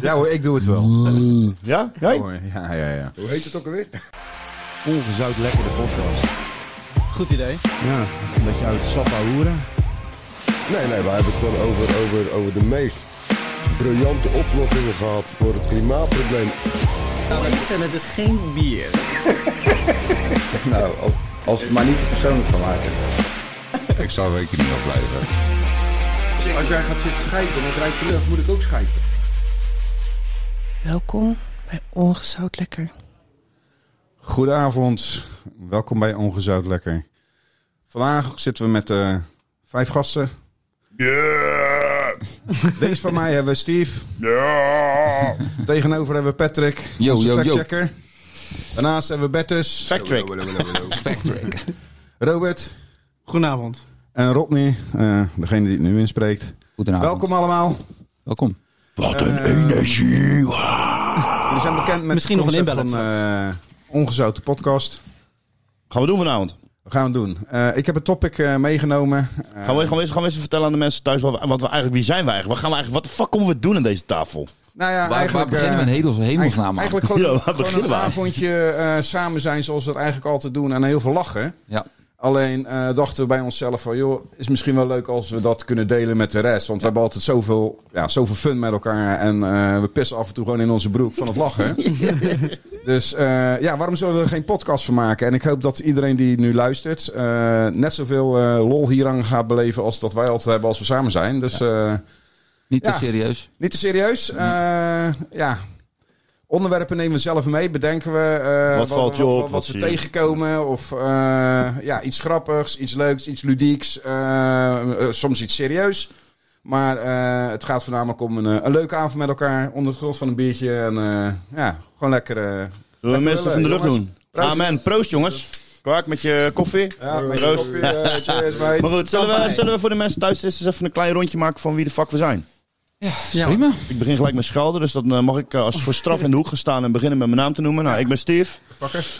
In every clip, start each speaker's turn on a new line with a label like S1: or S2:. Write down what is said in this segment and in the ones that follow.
S1: Ja hoor, ik doe het wel.
S2: Ja?
S3: Oh,
S2: Jij?
S1: Hoor, Ja, ja, ja.
S3: Hoe heet het ook alweer?
S2: Ongezout lekkere podcast.
S1: Goed idee.
S2: Ja, een beetje uit slappa hoeren.
S3: Nee, nee, we hebben het gewoon over, over, over de meest briljante oplossingen gehad voor het klimaatprobleem.
S1: En Nou, het is geen bier.
S4: Nou, als, als het maar niet te persoonlijk van maken.
S3: Ik zou weken niet afblijven.
S4: Als jij gaat zitten schijpen en het rijdt de lucht, moet ik ook schijpen.
S5: Welkom bij Ongezout Lekker.
S1: Goedenavond, welkom bij Ongezout Lekker. Vandaag zitten we met eh, vijf gasten. Links van mij hebben we Steve. Tegenover hebben we Patrick,
S6: Yo,
S1: onze
S6: yo, yo.
S1: factchecker. Daarnaast hebben we Bertus, Robert
S7: Goedenavond.
S1: en Rodney, eh, degene die het nu inspreekt.
S6: Goedenavond.
S1: Welkom allemaal. Eh,
S6: Welkom.
S1: Jullie zijn bekend met
S7: Misschien nog een
S1: het
S7: inbellen
S1: concept van eh, Ongezouten Podcast.
S2: Gaan we doen vanavond.
S1: We gaan het doen. Eh, ik heb een topic eh, meegenomen. Eh,
S2: Gaan we, gaan, we eens, gaan we eens vertellen aan de mensen thuis wat, we- wat we eigenlijk, wie zijn we eigenlijk? Wat gaan we eigenlijk, wat de fuck komen we doen aan deze tafel?
S1: nou ja,
S6: Waar, waar
S1: eigenlijk,
S6: beginnen we Nou,
S1: eh,
S6: een hemels, hemelsnaam aan?
S1: Eigenlijk gewoon,
S2: Ja, waar
S1: gewoon
S2: beginnen
S1: een
S2: we aan?
S1: avondje eh, samen zijn zoals we het eigenlijk altijd doen. En heel veel lachen.
S6: Ja.
S1: Alleen eh, dachten we bij onszelf van... joh, is misschien wel leuk als we dat kunnen delen met de rest. Want we hebben altijd zoveel, ja, zoveel fun met elkaar. En eh, we pissen af en toe gewoon in onze broek van het lachen. dus eh, ja, waarom zullen we er geen podcast van maken? En ik hoop dat iedereen die nu luistert... eh, net zoveel eh, lol hier aan gaat beleven als dat wij altijd hebben als we samen zijn. Dus... eh,
S6: Niet te
S1: Ja.
S6: serieus.
S1: niet te serieus.
S2: Mm.
S1: Eh, ja. Onderwerpen nemen we zelf mee. Bedenken we eh,
S2: Wat valt je
S1: wat,
S2: op?
S1: Wat,
S2: Wat
S1: we
S2: zie je?
S1: tegenkomen. Of eh, ja, iets grappigs, iets leuks, iets ludieks. eh, eh, soms iets serieus. Maar eh, het gaat voornamelijk om een, eh, een leuke avond met elkaar. Onder het gros van een biertje. En eh, ja, gewoon lekker. eh,
S2: Zullen we
S1: Lekker
S2: mensen van de lucht
S1: jongens.
S2: doen?
S1: Proost.
S2: Amen. Proost jongens. Kwaak met je koffie.
S1: ja, met een
S2: Proost.
S1: kopje, eh, cheers, mate.
S2: Maar goed, zullen we, zullen we voor de mensen thuis eens even een klein rondje maken van wie de fuck we zijn?
S6: Is prima.
S2: Ik begin gelijk met schelden, dus dan eh, mag ik eh, als voor straf in de hoek gaan staan en beginnen met mijn naam te noemen. Nou, ik ben Steve.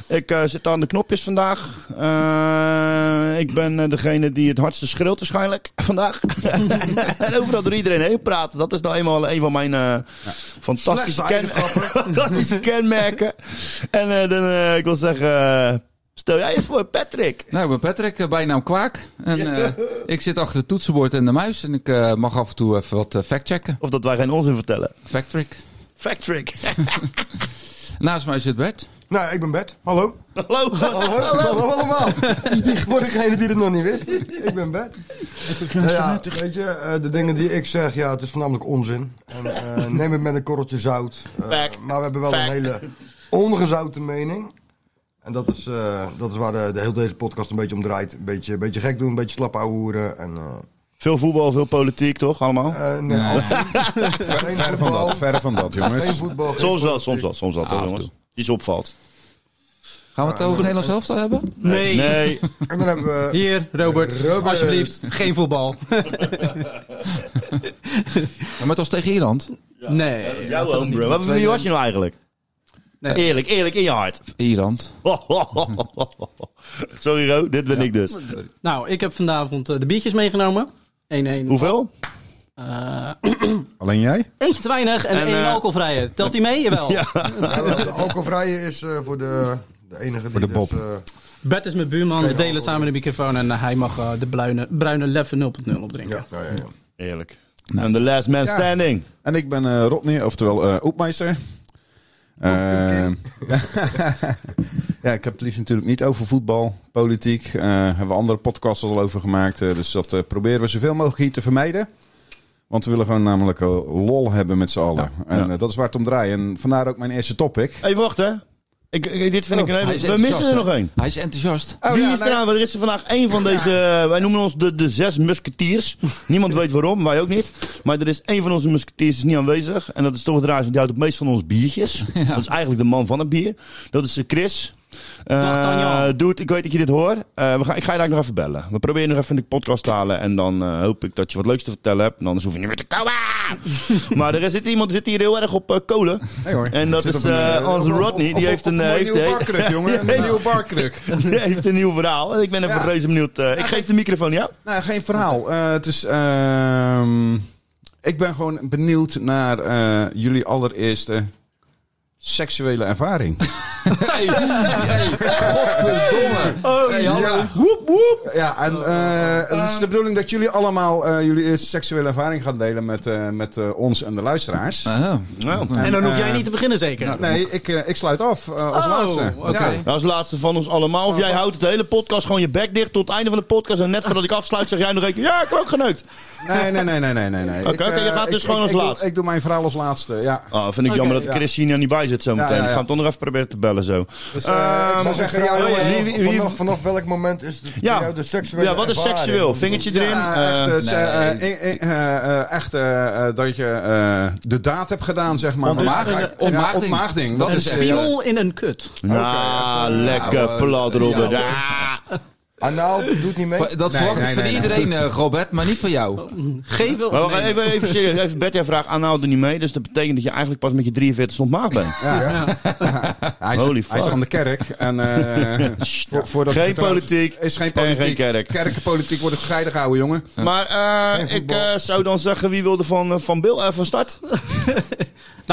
S2: Ik eh, zit aan de knopjes vandaag. Eh, ik ben eh, degene die het hardste schreeuwt waarschijnlijk vandaag. en overal door iedereen heen praten. Dat is nou eenmaal een van mijn eh, fantastische, ken- fantastische kenmerken. En eh, dan, eh, ik wil zeggen, eh, stel jij eens voor Patrick.
S6: Nou, ik ben Patrick, eh, bijnaam Kwaak. En eh, ik zit achter het toetsenbord en de muis. En ik eh, mag af en toe even wat eh, factchecken.
S2: Of dat wij geen onzin vertellen.
S6: Factrick.
S2: Factrick.
S6: Naast mij zit Bert.
S3: Nou, ik ben Bert. Hallo.
S2: Hallo.
S3: Hallo. Hallo allemaal. Voor degene die het nog niet wist. Ik ben Bert. Nou ja, weet je, eh, de dingen die ik zeg, ja, het is voornamelijk onzin. En, eh, neem het met een korreltje zout. Eh,
S2: Fact.
S3: maar we hebben wel
S2: Fact.
S3: een hele ongezouten mening. En dat is, eh, dat is waar de, de hele deze podcast een beetje om draait. Een beetje, een beetje gek doen, een beetje slap ouwehoeren. En, eh,
S2: Veel voetbal, veel politiek, toch? Allemaal?
S3: eh, nee,
S1: Verre
S3: geen
S1: van
S3: voetbal.
S1: dat, verre van dat,
S3: Geen
S1: jongens.
S3: voetbal. geen
S2: soms wel,
S3: politiek.
S2: soms wel, soms wel, toch,
S6: af en
S2: jongens?
S6: toe.
S2: Die is opvalt.
S6: Gaan we het over het Nederlands elftal hebben?
S7: Nee.
S2: Nee.
S3: En dan hebben we...
S7: Hier, Robert,
S3: Robert.
S7: alsjeblieft, geen voetbal.
S6: Ja, maar het was tegen Ierland.
S7: nee.
S2: Jouw homebrew. Wat wie was je nou eigenlijk?
S7: Nee.
S2: Eerlijk, eerlijk in je hart.
S6: Ierland.
S2: Sorry Ro, dit ben ik dus.
S7: Nou, ik heb vanavond eh, de biertjes meegenomen. 1 één.
S2: Hoeveel?
S7: Eh,
S1: Alleen jij?
S7: eentje te weinig en,
S2: En,
S7: één
S2: eh,
S7: alcoholvrije. Telt die mee? Jawel.
S3: Ja, eh, de alcoholvrije is eh, voor de, de enige die
S1: de
S3: dus,
S1: Bob.
S3: eh,
S7: Bert is mijn buurman, we delen
S3: alcohol.
S7: samen de microfoon en eh, hij mag eh, de bruine, bruine Leffe 0.0 opdrinken.
S3: ja, ja, ja, ja.
S2: Eerlijk. En the last man standing.
S1: En ik ben eh, Rodney, oftewel eh Oepmeister. Eh, ja, ik heb het liefst natuurlijk niet over voetbal, politiek. eh hebben we andere podcasts al over gemaakt. eh, dus dat eh, proberen we zoveel mogelijk hier te vermijden. Want we willen gewoon namelijk eh, lol hebben met z'n allen. En eh, dat is waar het om draait. En vandaar ook mijn eerste topic.
S2: Even wachten hè. Ik, ik- dit vind ik een
S6: Oh. Hij
S2: hele...
S6: is
S2: We missen er
S6: enthousiast,
S2: nog
S6: hè?
S2: één.
S6: Hij is enthousiast.
S1: Oh,
S2: Wie
S1: ja,
S2: is er
S1: nou-
S2: nou? Er is er vandaag één van deze... eh, Wij noemen ons de, de zes musketiers. Niemand weet waarom, wij ook niet. Maar er is één van onze musketiers is niet aanwezig. En dat is toch het raar, want die houdt het meest van ons biertjes. Dat is eigenlijk de man van het bier. Dat is eh, Chris. Eh,
S7: Dag, Daniel.
S2: dude, ik weet dat je dit hoort. Eh, we gaan, ik ga je daar nog even bellen. We proberen nog even in de podcast te halen. En dan eh, hoop ik dat je wat leuks te vertellen hebt. En anders hoef je niet meer te komen. maar er zit iemand zit hier heel erg op eh, kolen.
S1: Nee hoor.
S2: En dat
S1: Ik zit
S2: is
S1: op een,
S2: eh,
S1: eh,
S2: onze
S1: op- op-
S2: Rodney.
S1: op-
S2: Die heeft
S1: op-
S2: een...
S1: op
S2: eh, heeft-
S1: nieuwe barkruk,
S2: Ja,
S1: jongen. Een nieuwe barkruk.
S2: die heeft een nieuw verhaal. En ik ben even
S1: Ja.
S2: reuze benieuwd. Eh, ik geef de microfoon, ja?
S1: Nou, geen verhaal. Eh, het is. ehm, Ik ben gewoon benieuwd naar eh, jullie allereerste seksuele ervaring.
S6: Hey, hey, godverdomme. Hey, hallo.
S1: Ja. Woep, woep. Ja, en eh, het is de bedoeling dat jullie allemaal eh, jullie eerste seksuele ervaring gaan delen met, eh, met eh, ons en de luisteraars.
S6: Aha.
S2: Nou,
S7: En dan hoef
S1: eh,
S7: jij niet te beginnen zeker?
S1: Nee, ik, eh, ik sluit af eh, als
S7: Oh,
S1: laatste.
S7: oké.
S1: Ja.
S2: Nou, als laatste van ons allemaal. Of jij houdt de hele podcast gewoon je bek dicht tot het einde van de podcast. En net voordat ik afsluit zeg jij nog even... Ja, ik heb ook geneukt.
S1: Nee, nee, nee, nee, nee, nee. nee.
S2: Oké,
S1: Ik,
S2: oké, je
S1: eh,
S2: gaat
S1: ik-
S2: dus gewoon
S1: ik-
S2: als
S1: ik doe-
S2: laatste.
S1: Ik doe mijn verhaal als laatste, ja.
S2: Ah, vind ik
S7: Oké,
S2: jammer dat
S1: ja.
S2: Christine er niet bij zit zometeen.
S1: Ja, ja, ja.
S2: Ik ga hem toch nog even proberen te bellen zo.
S3: Dus, eh, ik
S2: Ehm,
S3: zou zeggen, eh, ja,
S2: oh,
S3: jongens,
S2: wie- wie- wie-
S3: vanaf, vanaf welk moment is het
S2: Ja.
S3: ja. jou de seksuele
S2: ja, wat is
S3: ervaring?
S2: seksueel? Vingertje erin?
S1: Ja,
S2: Eh,
S1: echt, eh,
S6: nee.
S1: eh, eh, eh, eh, eh, echt eh, eh, dat je eh, de daad hebt gedaan, zeg maar. Dus-
S6: Ontmaagding.
S1: Ja,
S6: Ontmaagding.
S1: ontmaagding.
S6: Dat
S1: Dat
S7: Een
S1: is
S6: is echt-
S7: spiegel in een kut.
S2: nou, lekker
S6: eh,
S2: plat,
S6: ja,
S2: Robert.
S6: hoor.
S2: Ah.
S3: Anaal doet niet mee.
S6: Va- Dat
S1: Nee,
S6: verwacht
S1: nee,
S6: ik van
S1: nee,
S6: iedereen, eh, Robert, maar niet van jou.
S7: Geef wel.
S2: Maar wacht,
S7: nee.
S2: even, even serieus. Even Bert, jij vraagt aanhouden niet mee. Dus dat betekent dat je eigenlijk pas met je 43 ontmaagd bent.
S1: Hij is,
S2: Holy
S1: hij is
S2: fuck.
S1: van de kerk. En, eh, voor, voordat
S2: Geen
S1: je trouwt,
S2: politiek
S1: Is geen
S2: en
S1: politiek.
S2: geen kerk.
S1: Kerkenpolitiek wordt gescheiden gehouden, jongen.
S2: Maar eh, ik eh, zou dan zeggen, wie wilde van, eh, van Bill eh, van start?
S7: Nou,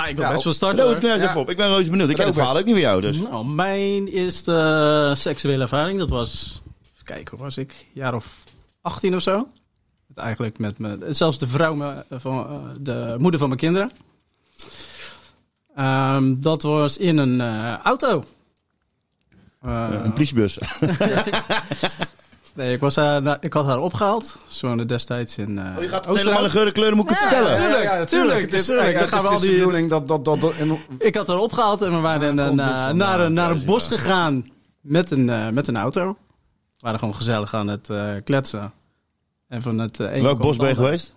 S7: ik wil
S1: Ja,
S7: best wel starten.
S2: Loop
S7: hoor.
S2: het nou eens
S1: Ja.
S2: even op. Ik ben reuze benieuwd. Ik ken
S1: Robert.
S2: het verhaal ook niet van jou, dus.
S7: Nou, mijn eerste eh, seksuele ervaring, dat was... Even kijken, hoe was ik? Een jaar of 18 of zo. Het Eigenlijk met me, zelfs de vrouw me- van eh, de moeder van mijn kinderen. Ehm, dat was in een eh, auto. Eh,
S2: Eh, Een politiebus.
S7: nee, ik, was haar, nou, ik had haar opgehaald. Ze woonde destijds in eh
S2: Oh, Je gaat het
S7: Oosterhout.
S2: helemaal in geuren kleuren, moet ik het vertellen.
S7: tuurlijk, tuurlijk,
S1: Het is,
S7: tuurlijk.
S1: ja,
S7: Dan
S1: het
S7: gaan
S1: is-
S7: we
S1: het
S7: al
S1: is de
S7: die-
S1: bedoeling dat... dat, dat, dat en-
S7: Ik had haar opgehaald en we waren
S2: Waar
S7: een,
S2: Ah, komt
S7: eh,
S2: dit vandaan?
S7: naar, een, naar
S2: Ja.
S7: een bos gegaan met een, eh, met een auto. We waren gewoon gezellig aan het eh, kletsen. En van het, eh, ene
S2: Welk
S7: kwam
S2: bos
S7: het
S2: ben je
S7: andere.
S2: geweest?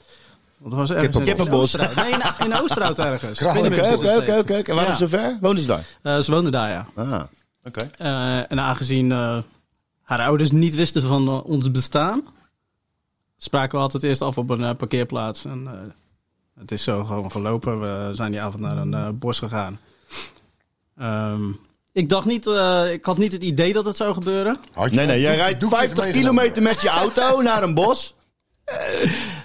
S7: Want het was ergens in-
S2: Kippenbos.
S7: in Oosterhout. Nee, in, in Oosterhout ergens. Ik weet niet meer
S2: Oké,
S7: precies
S2: oké,
S7: de
S2: oké,
S7: steek.
S2: oké. En waarom
S7: Ja.
S2: zover? Wonen ze daar?
S7: Eh, ze woonde daar, ja.
S2: Ah, oké.
S7: Eh, en aangezien eh, haar ouders niet wisten van eh, ons bestaan, spraken we altijd eerst af op een eh, parkeerplaats. En eh, het is zo gewoon gelopen. We zijn die avond naar een eh, bos gegaan. Ehm, ik dacht niet, eh, ik had niet het idee dat het zou gebeuren.
S3: Had je
S2: Nee, nee,
S3: een
S2: jij
S3: doek-
S2: rijdt
S3: doekje
S2: 50
S3: meegenomen?
S2: kilometer met je auto naar een bos.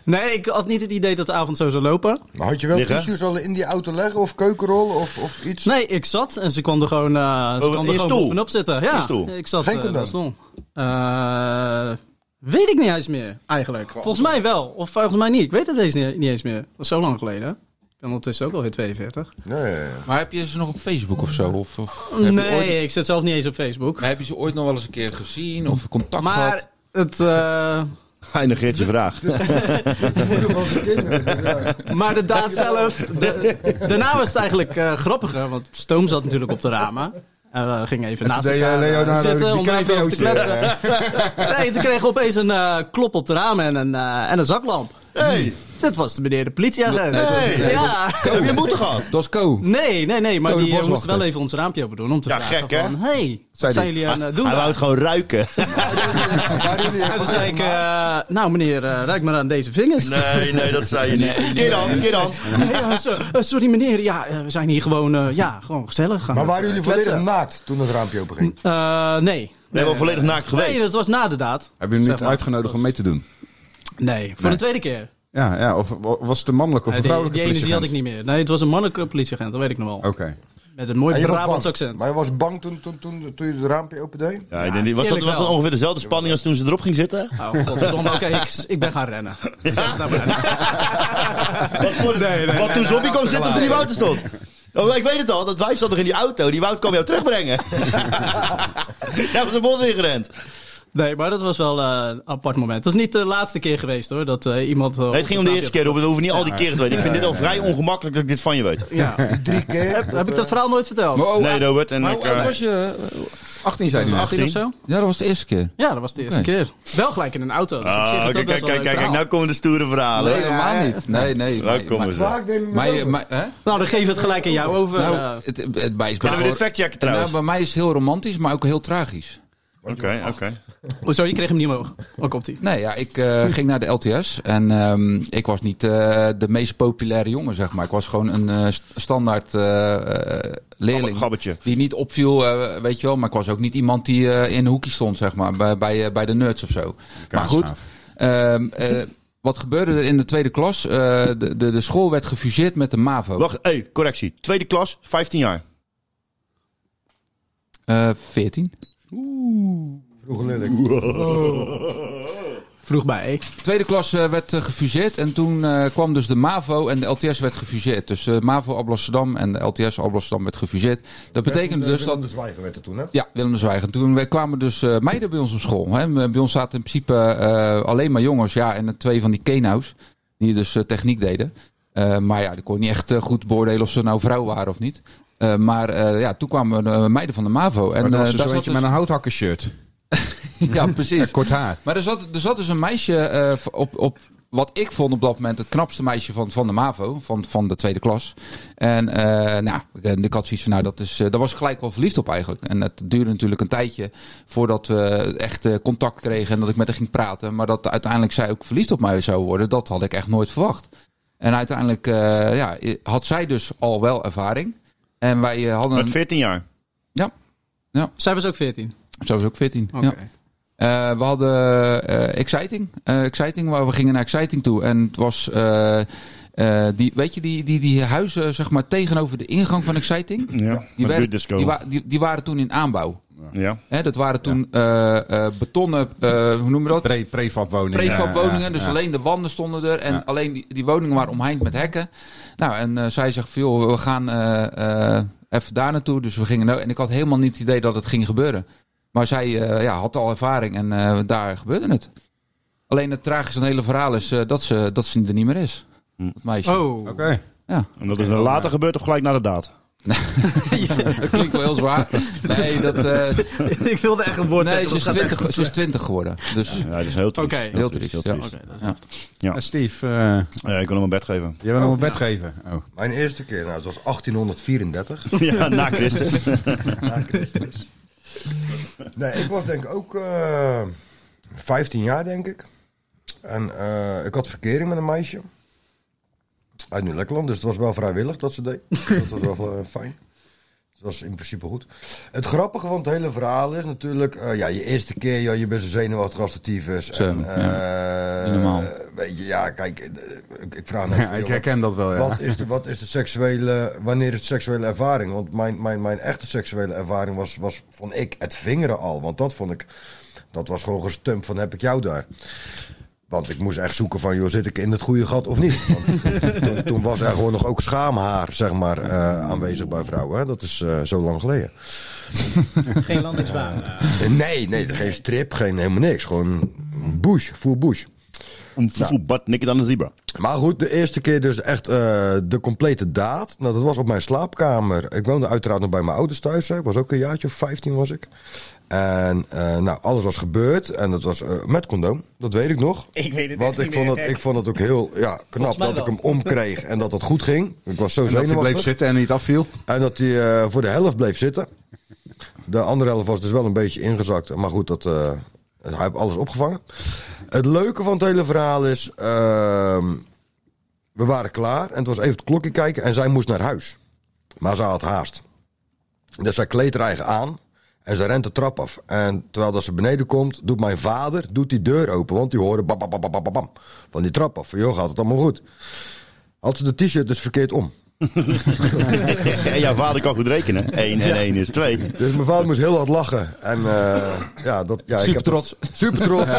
S7: Nee, ik had niet het idee dat de avond zo zou lopen.
S3: Maar had je wel
S2: Liggen.
S3: tissues al in die auto leggen of keukenrol of, of iets?
S7: Nee, ik zat en ze kon er gewoon, eh ze
S2: Oh,
S7: kon
S2: in
S7: er
S2: je
S7: gewoon
S2: stoel?
S7: bovenop zitten. Ja,
S2: In je stoel?
S7: ik zat
S3: Geen
S7: eh,
S3: condoom?
S7: in de stoel. Eh, weet ik niet eens meer, eigenlijk. Volgens mij wel, of volgens mij niet. Ik weet het eens niet, niet eens meer. Dat was zo lang geleden. Ik ben ondertussen ook alweer 42.
S3: Ja, ja, ja.
S6: Maar heb je ze nog op Facebook of zo? Of, of heb je
S7: Nee,
S6: ooit-
S7: ik zit zelf niet eens op Facebook.
S6: heb je ze ooit nog wel eens een keer gezien of contact gehad?
S7: maar het, eh,
S2: Hij negeert je vraag.
S7: maar de daad zelf... de- daarna was het eigenlijk eh, grappiger, want Stoom zat natuurlijk op de ramen. En we gingen even
S1: En
S7: naast
S1: toen deed, eh,
S7: elkaar eh,
S1: Leonardo
S7: zitten om even over te
S1: DiCapriootje.
S7: kletsen. Nee, toen kregen we opeens een eh, klop op de ramen en een, eh, en een zaklamp.
S2: Hey,
S7: Dat was de meneer de politieagent.
S2: Nee. Nee,
S7: ja.
S2: heb je moeite gehad?
S6: Dat is Co.
S7: nee, nee, nee, maar
S6: Code
S7: die eh, moest
S6: boswachter.
S7: wel even ons raampje open doen om te
S2: Ja,
S7: vragen
S2: gek, hè?
S7: van... hey,
S1: Zei
S7: wat zijn
S1: die.
S7: jullie aan het doen?
S2: Hij wou
S7: daar?
S2: het gewoon ruiken.
S7: En toen zei ik, eh, nou meneer, eh, ruik maar aan deze vingers.
S2: Nee, nee, dat zei je niet. Verkeerde hand, verkeerde hand.
S7: Nee, eh, so- eh, sorry meneer, ja, eh, we zijn hier gewoon, eh, ja, gewoon gezellig. aan
S3: Maar
S7: het,
S3: waren
S7: eh,
S3: jullie volledig
S7: kletsen.
S3: naakt toen het raampje openging?
S7: Eh, nee.
S2: We hebben wel volledig naakt
S7: Nee,
S2: geweest.
S7: dat was na de daad.
S1: Heb je hem
S7: Zeg
S1: niet
S7: maar.
S1: uitgenodigd om mee te doen?
S7: Nee, voor de tweede keer.
S1: Ja, ja of wa- was het een mannelijke of
S7: Nee,
S1: een
S7: die,
S1: vrouwelijke
S7: die energie had ik
S1: politieagent?
S7: niet meer. Nee, het was een mannelijke politieagent, dat weet ik nog wel.
S1: Oké.
S7: Met een mooi
S3: En je was
S7: Brabants
S3: bang.
S7: accent.
S3: Maar je was bang toen, toen, toen, toen je het raampje opendeed?
S2: Ja, ik denk niet- was, dat,
S7: eerlijk
S2: was dat
S7: wel.
S2: ongeveer dezelfde spanning als toen ze erop ging zitten?
S7: Oh, godverdomme. Oké, ik, ik ben gaan rennen. Ik zeg het nou maar.
S2: Wat, voor de, wat toen ze op je kwam zitten of toen die Wouter stond? Oh, ik weet het al, dat wijf zat nog in die auto. Die Wout kwam jou terugbrengen. Jij was een bos ingerend.
S7: Nee, maar dat was wel eh, een apart moment. Dat is niet de laatste keer geweest hoor, dat eh, iemand... eh,
S2: Nee, het ging om de eerste keer, Robert. We hoeven niet al die keren te weten. Ik vind dit al vrij ongemakkelijk dat ik dit van je weet.
S7: Ja.
S3: Drie keer?
S7: heb, heb ik
S3: eh,
S7: dat verhaal nooit verteld?
S6: Maar, oh,
S2: Nee, Robert. En
S6: maar
S2: ik,
S6: hoe
S2: eh,
S6: oud was je?
S1: 18 zei hij.
S7: 18 of zo?
S6: Ja, dat was de eerste keer.
S7: Ja, dat was de eerste
S6: Oké.
S7: keer. Wel gelijk in een auto. Dus op zich is
S2: Ah,
S7: dat
S2: kijk,
S7: best
S2: kijk,
S7: wel een
S2: kijk,
S7: leuk
S2: kijk,
S7: verhaal.
S2: nou komen de stoere verhalen.
S6: Nee, helemaal niet. Nee, nee.
S2: Nou
S6: maar-
S2: komen ze.
S3: Vaak neem je
S6: Maar,
S3: hem
S6: maar,
S3: over.
S6: maar, hè?
S7: Nou, dan geef het gelijk aan jou over. eh.
S6: Nou, het, het, bij is
S2: Kunnen we dit
S6: gewoon-
S2: factchecken
S6: nou,
S2: trouwens?
S6: bij mij is het heel romantisch, maar ook heel tragisch.
S2: Oké, oké.
S7: Hoezo, je kreeg hem niet omhoog. Oh, Waar komt hij?
S6: Nee, ja, ik eh,
S2: Hm.
S6: ging naar de LTS en ehm, ik was niet eh, de meest populaire jongen, zeg maar. Ik was gewoon een eh, st- standaard eh, eh, leerling.
S2: Gabbertje.
S6: Die niet opviel, eh, weet je wel. Maar ik was ook niet iemand die eh, in een hoekje stond, zeg maar. Bij, bij, eh, bij de nerds of zo. maar goed, ehm, eh, Wat gebeurde er in de tweede klas? Eh, de, de, de school werd gefuseerd met de MAVO.
S2: Wacht, hey, correctie. Tweede klas, 15 jaar.
S6: Eh, 14.
S3: Vroeger lelijk.
S7: Vroeg bij.
S6: Tweede klas eh, werd eh, gefuseerd en toen eh, kwam dus de MAVO en de LTS werd gefuseerd. Dus eh MAVO Alblasserdam en de LTS Alblasserdam werd gefuseerd. Dat betekende dus dat...
S3: De Zwijger werd er toen, hè?
S6: Ja, Willem de Zwijger. Toen wij kwamen dus eh, meiden bij ons op school. Hè. Bij ons zaten in principe eh, alleen maar jongens. Ja, en twee van die kenau's. Die dus eh, techniek deden. Eh, maar ja, ik kon je niet echt eh, goed beoordelen of ze nou vrouw waren of niet. Eh, maar eh, ja, toen kwamen eh, meiden van de MAVO. En
S1: En dat
S6: eh,
S1: is
S6: daar
S1: zo'n
S6: zat
S1: beetje
S6: dus-
S1: met een houthakkershirt.
S6: Ja, precies.
S1: Kort haar.
S6: Maar er zat, er zat dus een meisje eh, op, op wat ik vond op dat moment het knapste meisje van, van de MAVO, van, van de tweede klas. En eh, nou, ik- ik had zoiets van, nou, dat is, eh, daar was ik gelijk wel verliefd op eigenlijk. En het duurde natuurlijk een tijdje voordat we echt eh, contact kregen en dat ik met haar ging praten. Maar dat uiteindelijk zij ook verliefd op mij zou worden, dat had ik echt nooit verwacht. En uiteindelijk eh, ja, had zij dus al wel ervaring. En wij eh, hadden...
S2: Met 14 jaar.
S7: Zij was ook 14.
S6: Zij was ook 14.
S7: Oké.
S6: Ja. Eh, we hadden eh, Exciting. Eh, exciting, waar we gingen naar Exciting toe. En het was. eh, eh, die, weet je, die, die, die huizen zeg maar, tegenover de ingang van Exciting. Die,
S2: Ja, met
S6: werden-
S2: buurtdisco.
S6: die, wa- die, die waren toen in aanbouw.
S2: ja.
S6: Hè, dat waren toen eh, eh, betonnen, eh, hoe noemen we dat?
S1: Pre, prefab woningen.
S6: prefab
S1: Ja, ja,
S6: woningen. dus
S1: ja.
S6: alleen de wanden stonden er. En
S1: Ja.
S6: alleen die, die woningen waren omheind met hekken. Nou, en eh, zij zegt, van, joh, we gaan eh, eh, even daar naartoe. Dus we gingen nou, En ik had helemaal niet het idee dat het ging gebeuren. Maar zij eh, ja, had al ervaring en eh, daar gebeurde het. Alleen het tragische aan het hele verhaal is eh, dat, ze, dat ze er niet meer is.
S2: Hm.
S6: Dat meisje.
S7: Oh.
S1: Oké.
S2: En dat is dan
S7: eh,
S2: later gebeurd of gelijk na de daad?
S6: Dat klinkt wel heel zwaar. Nee, dat, eh,
S7: ik wilde echt een woord
S6: nee
S7: zeggen,
S6: ze, is
S7: dat gaat
S6: 20, ze is 20 geworden. Dus
S2: Ja, dat is heel triest.
S7: Oké.
S6: heel triest. Ja.
S7: echt- Oké, dat is-
S6: Ja.
S2: Ja.
S1: En Steve, eh,
S2: Ja, ik wil hem een bed geven.
S1: jij wil hem een bed geven. Oh.
S3: Mijn eerste keer, nou, het was 1834.
S2: ja, na Christus.
S3: na Christus. Nee, ik was denk ik ook eh 15 jaar, denk ik. En eh, ik had verkering met een meisje. Uit Nieuw-Lekkerland, dus het was wel vrijwillig dat ze deed. Dat was wel eh, fijn. Het was in principe goed. Het grappige van het hele verhaal is natuurlijk... eh, ja, je eerste keer, ja, je bent zo zenuwachtig als de tyfus.
S6: Zo,
S3: en,
S6: ja.
S3: eh,
S6: Niet normaal.
S3: Weet je, ja, kijk, eh, ik, ik vraag net...
S1: Ja,
S3: van,
S1: ik
S3: joh,
S1: herken dat wel, ja.
S3: wat is, de, wat is de seksuele, wanneer is de seksuele ervaring? Want mijn, mijn, mijn echte seksuele ervaring was, was, vond ik, het vingeren al. Want dat vond ik, dat was gewoon gestumpt van heb ik jou daar. Want ik moest echt zoeken van, joh, zit ik in het goede gat of niet? Want toen, toen was er gewoon nog ook schaamhaar, zeg maar, eh, aanwezig bij vrouwen. Hè? Dat is eh, zo lang geleden.
S7: Geen land is waar.
S3: Nee, nee, geen strip, geen helemaal niks. Gewoon bush, full bush.
S2: Om voetbad nikken dan een zebra.
S3: Maar goed, de eerste keer dus echt eh, de complete daad. Nou, dat was op mijn slaapkamer. Ik woonde uiteraard nog bij mijn ouders thuis. Hè. Ik was ook een jaartje of 15 was ik. En eh, nou, alles was gebeurd. En dat was eh, met condoom. Dat weet ik nog.
S7: Ik weet het
S3: Want ik vond, het, ik vond het ook heel ja, knap
S7: mij
S3: dat ik
S7: wel.
S3: hem omkreeg en dat het goed ging. Ik was zo
S1: En dat hij
S3: zenuwachtig.
S1: bleef zitten en niet afviel.
S3: En dat hij eh, voor de helft bleef zitten. De andere helft was dus wel een beetje ingezakt. Maar goed, dat, eh, hij heeft alles opgevangen. Het leuke van het hele verhaal is... ehm, we waren klaar en het was even het klokje kijken en zij moest naar huis. Maar zij had haast. Dus zij kleedt haar eigen aan en ze rent de trap af. En terwijl dat ze beneden komt, doet mijn vader doet die deur open. Want die hoorde bam, bam, bam, bam, bam, bam van die trap af. Van, joh, gaat het allemaal goed? Had ze de t-shirt dus verkeerd om.
S2: Ja, jouw vader kan goed rekenen. 1 en 1 is 2.
S3: Dus mijn vader moest heel hard lachen. En eh, ja, dat, ja, ik
S6: Super
S3: heb
S6: trots.
S3: Super trots.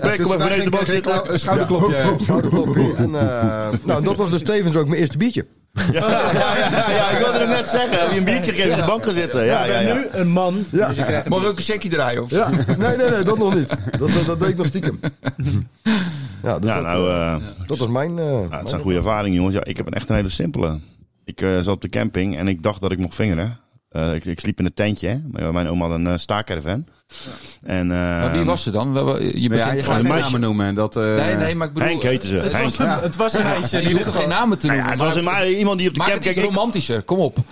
S2: Pek, kom even beneden de bank zitten.
S1: Een schouderklopje.
S3: oh. Schouderklopje. En, eh, nou, dat was dus tevens ook mijn eerste biertje.
S2: Ja, ja, ja, ja, ik wilde het net zeggen. Heb je een biertje gegeven op de bank gaan zitten? Ja, ja, ja.
S7: Nu een man.
S3: Ja.
S7: Dus je krijgt
S6: Mag ik ook een checkie draaien? Of?
S3: Ja, nee, nee, nee, dat nog niet. Dat, dat, dat deed ik nog stiekem. Ja, dus
S2: Ja,
S3: dat,
S2: nou, eh,
S3: dat was mijn... eh,
S2: nou,
S3: mijn-
S2: het zijn goede ervaringen, jongens. Ja, ik heb een echt een hele simpele. Ik eh, zat op de camping en ik dacht dat ik mocht vingeren. Eh, ik, ik sliep in een tentje, hè. Maar ja, Mijn oma had een eh, staakcaravan. En, eh,
S6: Maar wie was ze dan? We- we- Je
S1: Ja,
S6: begint
S1: je gaat
S6: gewoon-
S1: geen
S2: meisje.
S1: namen noemen. En dat, eh,
S6: Nee, nee, maar ik bedoel... eh,
S2: Henk heette ze. Henk.
S7: een- Het was een meisje.
S6: Je hoeft geen namen te
S2: Nou
S6: noemen.
S2: ja, het
S6: maar-
S2: was in mij iemand die op de
S6: Maak
S2: camping...
S6: het iets
S2: keek. Ik-
S6: romantischer, kom op.
S2: Het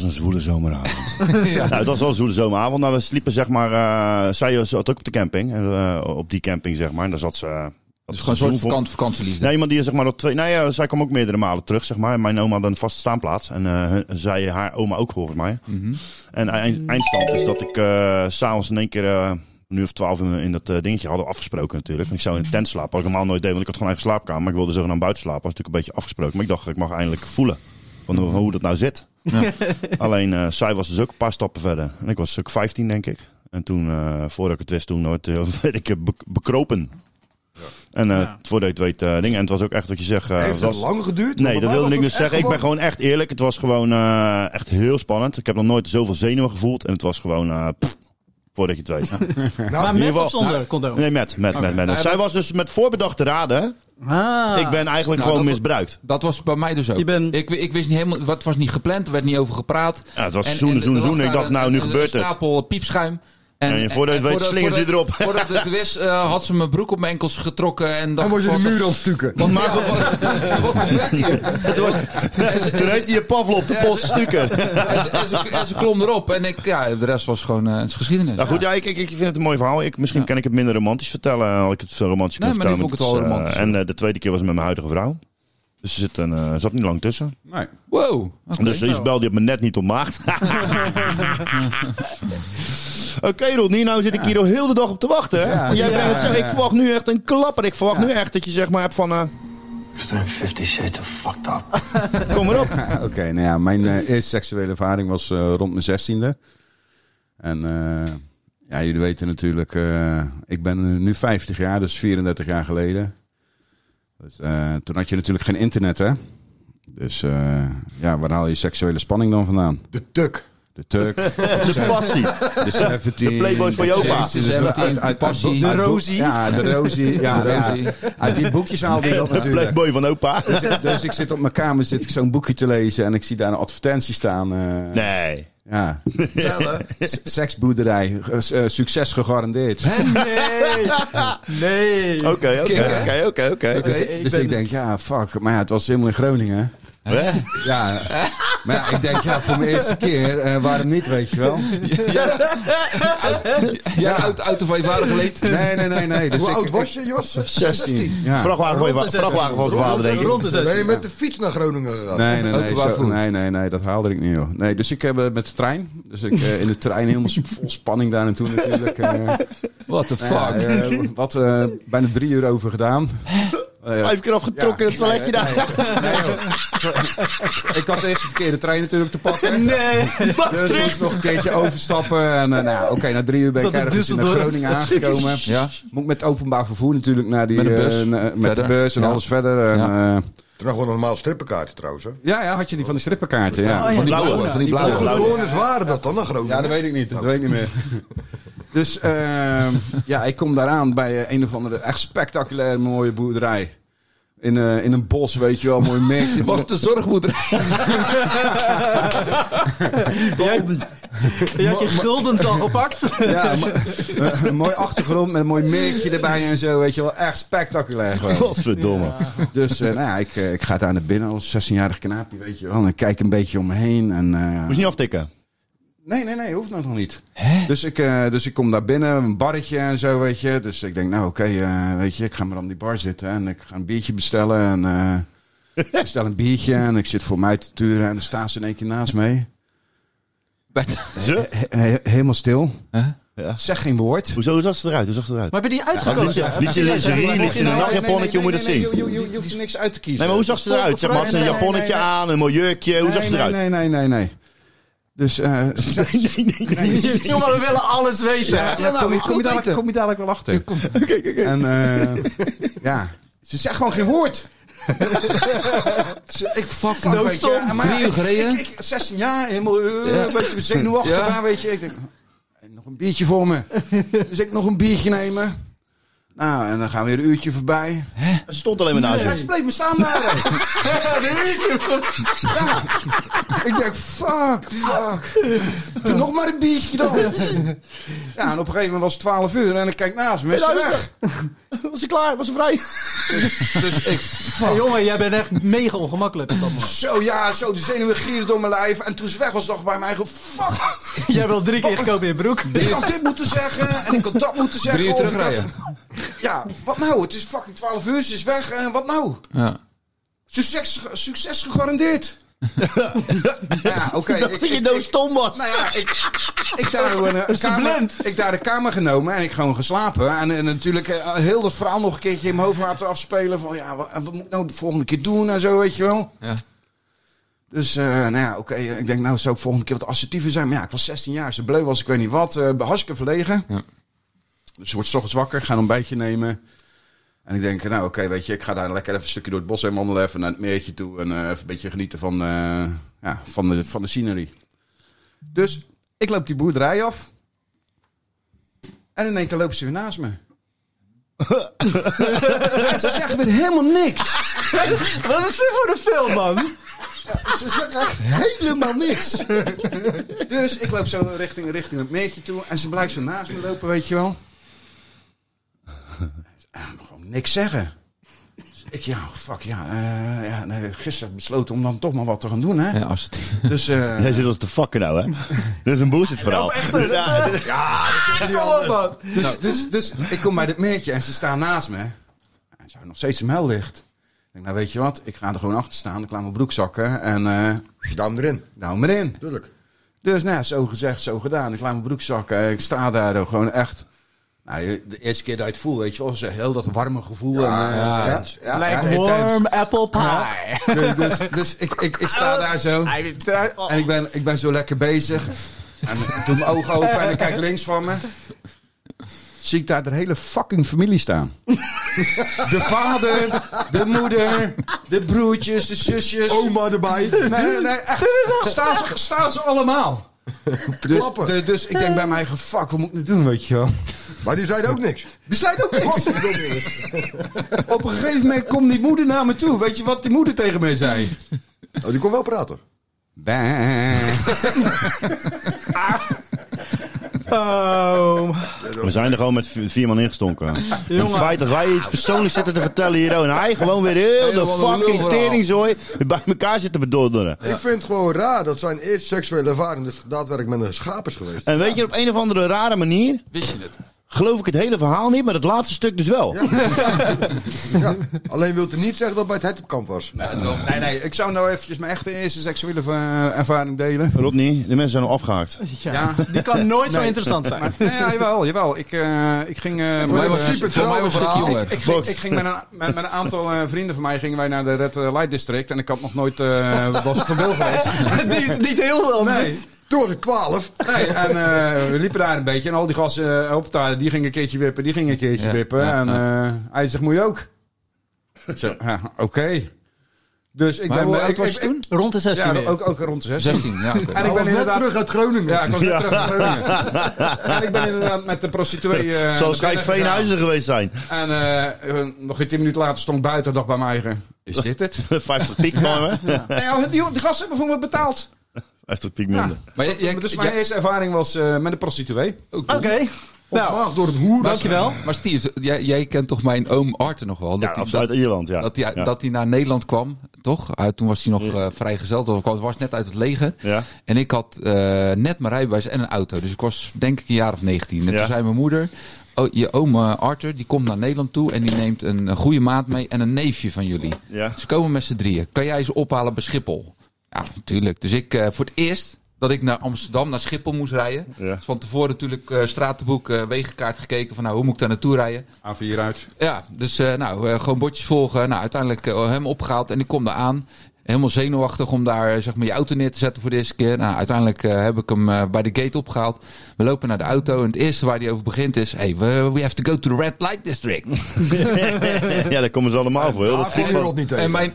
S2: was een zwoele zomeravond. nou, het was wel een zwoele zomeravond. Nou, we sliepen zeg maar... eh zij zat ook op de camping. en, eh, op die camping zeg maar. En daar zat ze... eh, dat
S6: Dus
S2: ze
S6: gewoon een soort
S2: zoen vond.
S6: vakant, vakantieliefde.
S2: Nee, iemand die zeg maar op twee... Nou ja, zij kwam ook meerdere malen terug zeg maar. Mijn oma had een vaste staanplaats. En eh, hun- zij
S6: Mhm.
S2: e-, haar oma ook volgens mij. En eind- eindstand is dat ik eh, s s'avonds in één keer... eh, een uur of twaalf in, in dat eh, dingetje hadden we afgesproken natuurlijk. En ik zou in een tent slapen, wat ik normaal nooit deed, want ik had gewoon eigen slaapkamer. Maar ik wilde zo naar buiten slapen, was natuurlijk een beetje afgesproken. Maar ik dacht, ik mag eindelijk voelen van hoe, hoe dat nou zit.
S6: Ja.
S2: Alleen, eh, zij was dus ook een paar stappen verder. En ik was ook 15, denk ik. En toen, eh, voordat ik het wist, toen nooit, eh, werd ik eh, bek- bekropen. En eh,
S7: Ja.
S2: voordat je het weet, eh, dingen. En het was ook echt wat je zegt. eh,
S3: Heeft
S2: was-
S3: dat lang geduurd?
S2: Nee, dat wilde ik
S3: niet
S2: dus zeggen. Ik ben gewoon echt eerlijk. Het was gewoon eh, echt heel spannend. Ik heb nog nooit zoveel zenuwen gevoeld. En het was gewoon, eh, pff, voordat je het weet.
S7: maar
S2: in
S7: met
S2: ieder
S7: of
S2: geval-
S7: zonder condoom?
S2: Nee, met, met, met, met.
S6: Nou,
S2: Zij
S6: dat-
S2: was dus met voorbedachte raden.
S7: Ah.
S2: Ik ben eigenlijk
S6: Nou,
S2: gewoon
S6: dat-
S2: misbruikt.
S6: Dat was bij mij dus ook.
S7: Je bent-
S6: Ik, ik wist niet helemaal, wat was niet gepland, er werd niet over gepraat.
S2: Ja, het was
S6: En-
S2: zoenen,
S6: en
S2: zoenen,
S6: er lag
S2: zoenen. Ik
S6: daar
S2: dacht,
S6: een-
S2: nou, nu
S6: een-
S2: gebeurt
S6: Een
S2: het.
S6: stapel piepschuim.
S2: En voordat je het weet, slingeren ze
S6: voordat-
S2: erop.
S6: Voordat ik het wist, eh, had ze mijn broek op mijn enkels getrokken. En
S3: Dan
S6: dacht
S3: word je
S6: ik
S3: de
S6: van,
S3: muur aan het stukken.
S6: Wat maakt wat, wat gebeurt hier?
S2: Het was- Toen heette je Pavlov de
S6: Ja, ze-
S2: poststukker.
S6: En ze, en ze- en ze klom erop. En ik, ja, de rest was gewoon eh, het is geschiedenis.
S2: Nou goed, ja, ik, ik, ik vind het een mooi verhaal. Ik, misschien
S6: Ja.
S2: kan ik het minder romantisch vertellen. Had ik het zo romantisch kunnen
S6: Nee, maar nu
S2: vertellen.
S6: vond ik het wel
S2: is, eh,
S6: romantisch.
S2: En eh, de tweede keer was het met mijn huidige vrouw. Dus er zit een, eh, zat niet lang tussen.
S1: Nee.
S6: Wow. oké.
S2: Dus Isabel die heeft me net niet ontmaagd. Oké, Rodney, nou zit ik hier al heel de dag op te wachten. hè? Jij brengt het zeg, ik verwacht nu echt een klapper. Ik verwacht nu echt dat je zeg maar hebt van, eh,
S8: Because I'm 50 shades of fucked up.
S2: kom maar op.
S1: Oké, nou ja, mijn eh, eerste seksuele ervaring was eh, rond mijn zestiende. En eh, ja, jullie weten natuurlijk, eh, ik ben nu 50 jaar, dus 34 jaar geleden. Dus, eh, toen had je natuurlijk geen internet, hè? Dus eh, ja, waar haal je seksuele spanning dan vandaan?
S3: De tuk.
S1: De Turk,
S2: De passie.
S1: de 17...
S2: De Playboys van je opa.
S1: James, dus
S6: De
S1: uit- uit- uit-
S6: Passie.
S1: uit boek-
S6: De
S1: uit boek-
S7: Rosie.
S1: Ja, de Rosie. Ja,
S6: Ja,
S1: ja, uit die boekjes haalde je dat
S2: De
S1: natuurlijk.
S2: playboy van opa.
S1: Dus ik, dus ik zit op mijn kamer, zit ik zo'n boekje te lezen en ik zie daar een advertentie staan. eh,
S2: Nee.
S1: Ja. S- Seksboerderij. S- eh, Succes gegarandeerd.
S7: Nee. nee.
S2: Oké, oké,
S6: Kikker.
S2: oké, oké, oké.
S1: Dus,
S7: ik
S1: dus
S7: ben-
S1: ik denk, ja, fuck. Maar ja, het was helemaal in Groningen.
S2: Hè?
S1: Ja. Maar ja, ik denk, ja, voor mijn eerste keer, eh, waarom niet, weet je wel?
S6: Ja, de auto, auto van je vader geleend.
S1: Nee, nee, nee, nee. Dus
S3: Hoe
S1: ik-
S3: oud was eh, je, Jos?
S2: 16.
S1: Ja.
S2: Vrachtwagen van je va- vrachtwagen van zijn vader, denk ik.
S7: Rond de
S3: Ben je
S7: 16.
S3: met de fiets naar Groningen gegaan?
S1: Nee, nee, nee,
S6: Openbaar
S1: zo-
S6: vervoer.
S1: nee, nee, nee, dat haalde ik niet, joh. Nee, dus ik heb eh, met de trein. Dus ik eh, in de trein helemaal sp- vol spanning daar naartoe natuurlijk. eh.
S6: What the
S1: Ja,
S6: fuck.
S1: eh, wat eh, bijna drie uur over gedaan. Eh,
S2: Vijf keer afgetrokken in het toiletje daar.
S1: ik had eerst de verkeerde trein natuurlijk te pakken.
S7: Nee.
S1: Dus ik moest nog een keertje overstappen. En eh, nou, ja, oké, na drie uur ben ik
S7: Zat in
S1: ergens in
S7: Düsseldorf.
S1: Groningen aangekomen.
S6: Ja.
S1: Moet met openbaar vervoer natuurlijk naar die...
S6: Met een bus.
S1: eh, na- met
S6: Verder.
S1: de bus en
S6: Ja.
S1: alles verder. En, ja.
S3: Toen nog wel een normaal strippenkaartje trouwens. Hè?
S1: ja, ja, had je die van de strippenkaarten, ja.
S6: Van die blauwe.
S2: blauwe.
S6: Van die blauwe.
S3: Hoeveel bewoners waren dat dan naar Groningen?
S1: Ja, dat weet ik niet. Dat weet ik niet meer. Dus ehm, ja, ik kom daaraan bij eh, een of andere echt spectaculaire mooie boerderij. In, eh, in een bos, weet je wel, mooi merkje.
S6: Was het de zorgmoeder?
S7: Je had je guldens al gepakt.
S1: Ja, mo- eh, een mooi achtergrond met een mooi merkje erbij en zo, weet je wel. Echt spectaculair gewoon.
S2: Godverdomme.
S1: Dus eh, nou ja, ik, eh, ik ga daar naar binnen als 16-jarig knaapje, weet je wel. En ik kijk een beetje om me heen. En, eh,
S2: Moest je niet aftikken.
S1: Nee, nee, nee, hoeft nog nog niet. Dus ik, eh, dus ik kom daar binnen, een barretje en zo, weet je. Dus ik denk, nou oké, eh, weet je, ik ga maar aan die bar zitten en ik ga een biertje bestellen. En eh, ik bestel een biertje en ik zit voor mij te turen en dan staan ze in één keer naast mij.
S2: Ze?
S1: He- he- helemaal stil.
S6: Huh?
S2: Ja.
S1: Zeg geen woord.
S2: Hoezo, hoe zag ze eruit? Hoe zag ze eruit?
S7: Maar ben je die
S2: Ja,
S7: uitgekozen?
S2: liet ze- liet ze lingerie, liet ze een nachtjaponnetje, hoe moet je dat zien?
S1: Je, je, je, je hoeft er niks uit te kiezen.
S2: Nee, maar hoe zag ze eruit? Zeg maar, had ze een
S1: Nee, nee, nee,
S2: japonnetje
S1: nee.
S2: aan, een mooi jurkje. Hoe zag ze
S1: nee,
S2: eruit?
S1: nee, nee, nee, nee. Dus eh, ze zegt,
S2: Nee, nee, nee.
S7: Jongen, Oh, we willen alles weten.
S1: ja,
S6: stil nou,
S1: kom, je-
S6: ik
S1: kom, je
S6: wil
S1: dadelijk,
S6: weten.
S1: kom je dadelijk wel achter. En eh, ja, ze zegt gewoon geen woord. Ze- ik fuck, fuck
S6: Nou,
S1: weet je.
S7: Doodstom.
S1: Maar ja,
S6: Drie uur
S1: ik-
S6: gereden.
S1: Ik, ik, 16 jaar, helemaal eh,
S6: Ja.
S1: een beetje zenuwachtig
S6: Ja.
S1: aan, weet je. Ik denk, eh, nog een biertje voor me. Dus ik nog een biertje nemen. Nou, en dan gaan we weer een uurtje voorbij.
S2: Ze stond alleen maar naast
S1: Ja,
S2: je.
S1: ze bleef me staan daar. Ja. Ik denk, fuck, fuck. Doe nog maar een biertje dan. Ja, en op een gegeven moment was het 12 uur en ik kijk naast me. Is ze weg.
S2: Was ze klaar? Was ze vrij?
S1: Dus ik,
S7: Hey, jongen, jij bent echt mega ongemakkelijk. op dat moment.
S1: zo ja, zo, de zenuwen gierden door mijn lijf. En toen ze weg was, dacht ik bij mij, fuck.
S7: Jij wil drie keer gekomen in je broek.
S1: Ik had dit moeten zeggen en ik had dat moeten zeggen.
S6: Drie uur
S1: of ik had-
S6: terugrijden.
S1: Ja, wat nou? Het is fucking 12 uur, ze is weg en wat nou?
S6: Ja.
S1: Succes, succes gegarandeerd. Ja, oké. ik-
S2: Dat je
S1: ik-
S2: nou
S1: ik-
S2: stom was.
S1: Nou ja, ik, ik daar gewoon een kamer, ik daar de kamer genomen en ik gewoon geslapen. En, eh, natuurlijk eh, heel dat verhaal nog een keertje in mijn hoofd laten afspelen. Van ja, wat, wat moet ik nou de volgende keer doen en zo, weet je wel.
S6: Ja.
S1: Dus eh, nou ja, oké, eh, ik denk nou zou ik volgende keer wat assertiever zijn. Maar ja, ik was 16 jaar, ze bleu was ik weet niet wat. eh hartstikke verlegen.
S6: Ja.
S1: Dus ze wordt 's ochtends wakker, ga een ontbijtje nemen. En ik denk, nou oké, weet je, ik ga daar lekker even een stukje door het bos heen wandelen. Even naar het meertje toe en eh, even een beetje genieten van, eh, ja, van, de, van de scenery. Dus ik loop die boerderij af. En in één keer lopen ze weer naast me. en ze zeggen weer helemaal niks.
S7: Wat is dit voor een film, man?
S1: Ze zeggen echt helemaal niks. Dus ik loop zo richting, richting het meertje toe. En ze blijft zo naast me lopen, weet je wel. En gewoon niks zeggen. Dus ik, ja, fuck, ja. eh, ja nee, gisteren besloten om dan toch maar wat te gaan doen, hè.
S6: Ja, als het...
S1: Dus, eh,
S2: Jij zit ons te fucken nou, hè? Dit is een bullshit verhaal. Ja, dit-
S1: Dus, dus, dus ik kom bij dit meertje en ze staan naast me. En ze houden nog steeds een mel dicht. Ik denk, nou weet je wat, ik ga er gewoon achter staan. Ik laat mijn broek zakken en eh
S3: Duim erin,
S1: nou maar in.
S3: natuurlijk.
S1: Dus nou, ja, zo gezegd, zo gedaan. Ik laat mijn broek zakken. Ik sta daar ook gewoon echt. Nou, je- de eerste keer dat je het voelt, weet je wel, is heel dat warme gevoel. en, eh,
S6: ja.
S1: intens. ja, ja,
S7: Like
S1: intens.
S7: warm apple pie.
S1: Dus, dus, dus ik, ik, ik sta daar zo. En ik ben, ik ben zo lekker bezig. En ik doe mijn ogen open en ik kijk links van me. Zie ik daar de hele fucking familie staan. De vader, de moeder, de broertjes, de zusjes.
S3: Oma erbij.
S1: Nee, nee, nee, echt. Staan ze, staan ze allemaal. Dus,
S3: Klappen.
S1: de- dus ik denk bij mij, eigen, fuck, wat moet ik nu doen, weet je wel.
S3: Maar die zeiden ook niks.
S1: Er zijn ook niks. Op een gegeven moment komt die moeder naar me toe. Weet je wat die moeder tegen mij zei?
S3: Oh, die kon wel praten.
S1: Bah.
S7: Oh.
S2: We zijn er gewoon met vi- vier man ingestonken. En Het
S7: Jongen.
S2: feit dat wij iets persoonlijks zitten te vertellen hier ook, en hij gewoon weer heel de
S6: Helemaal een
S2: fucking
S6: lulverhaal.
S2: teringzooi bij elkaar zitten bedonderen.
S3: Ik vind het gewoon raar dat zijn eerste seksuele ervaring dus daadwerkelijk met een schaap is geweest.
S2: En weet je, op een of andere rare manier
S6: Wist je het?
S2: geloof ik het hele verhaal niet, maar het laatste stuk dus wel.
S3: Ja. Alleen wilt u niet zeggen dat het bij het Hertopkamp was.
S1: Nee, nee, ik zou nou eventjes mijn echte eerste seksuele eh, ervaring delen.
S2: Rodney, de mensen zijn al afgehaakt.
S7: Ja. Die kan nooit zo
S1: Nee.
S7: interessant zijn.
S1: Nee, ja, jawel, jawel. Ik, eh, ik ging... eh,
S3: Maar
S1: met-
S3: in
S6: was-
S3: principe
S6: voor
S3: hetzelfde
S6: mij was het
S3: verhaal.
S6: jonger.
S1: ik, ging, ik ging met een, met, met een aantal eh, vrienden van mij gingen wij naar de Red eh, Light District. En ik had nog nooit... eh was van Wil geweest.
S7: Die is niet heel anders.
S1: Nee.
S3: Toen was ik 12.
S1: Nee, en eh, we liepen daar een beetje. En al die gasten eh, op daar, die gingen een keertje wippen, die gingen een keertje
S6: Ja,
S1: wippen.
S6: ja,
S1: en eh, hij zegt, moet je ook? Ik zeg, ja, oké. Dus ik
S6: Maar
S1: ben...
S6: hoe
S1: eh,
S6: oud
S1: ik,
S6: was
S1: ik-
S6: je toen? oh,
S7: Rond de 16
S1: Ja,
S7: weer.
S1: ook, ook rond de 16.
S6: 16, ja. oké.
S1: En ik ben inderdaad... terug uit Groningen. Ja, ik was net
S2: Ja.
S1: terug uit Groningen. en ik ben inderdaad met de prostituee... eh,
S2: Zal waarschijnlijk
S1: binnen
S2: Veenhuizen geweest zijn.
S1: gegaan. En eh, eh, nog geen 10 minuten later stond ik buiten en dacht bij mij eigen... Is dit het?
S2: 50 piek gewoon, hè?
S1: nee, joh, die, die gasten hebben voor me betaald.
S2: 50 piek minder.
S6: Maar jij- jij-
S1: Dus
S6: jij-
S1: mijn eerste ervaring was eh, met de prostituee.
S6: ook
S7: Oké.
S6: cool.
S7: Nou,
S3: Opgewaagd door het hoer.
S7: dankjewel.
S6: Maar Steve, jij, jij kent toch mijn oom Arthur nog wel? Dat
S2: Ja,
S6: hij-
S2: absoluut, uit Ierland, ja.
S6: Dat hij,
S2: Ja.
S6: dat hij naar Nederland kwam, toch? Uit, toen was hij nog eh vrijgezel. Toen kwam, was net uit het leger.
S2: Ja.
S6: En ik had eh, net mijn rijbewijs en een auto. Dus ik was denk ik een jaar of 19. En
S2: Ja.
S6: toen zei mijn moeder... "Oh, je oom eh, Arthur, die komt naar Nederland toe... en die neemt een, eh, goede maat mee en een neefje van jullie.
S2: Ja.
S6: Ze komen met z'n drieën. Kan jij ze ophalen bij Schiphol? Ja, natuurlijk. Dus ik eh, voor het eerst dat ik naar Amsterdam, naar Schiphol moest rijden.
S2: Ja.
S6: Dus van tevoren natuurlijk eh, stratenboek, eh, wegenkaart gekeken... van nou, hoe moet ik daar naartoe rijden?
S1: A4 uit.
S6: Ja, dus eh, nou, eh, gewoon bordjes volgen. Nou, uiteindelijk eh, hem opgehaald en ik kom daar aan. Helemaal zenuwachtig om daar eh, zeg maar, je auto neer te zetten voor de eerste keer. Nou, uiteindelijk eh, heb ik hem eh, bij de gate opgehaald. We lopen naar de auto en het eerste waar hij over begint is... Hey, we, we have to go to the red light district.
S2: ja, daar komen ze allemaal voor. Heel dat
S3: Daar kon
S2: vliegveld.
S3: je rot niet tegen.
S6: En mijn,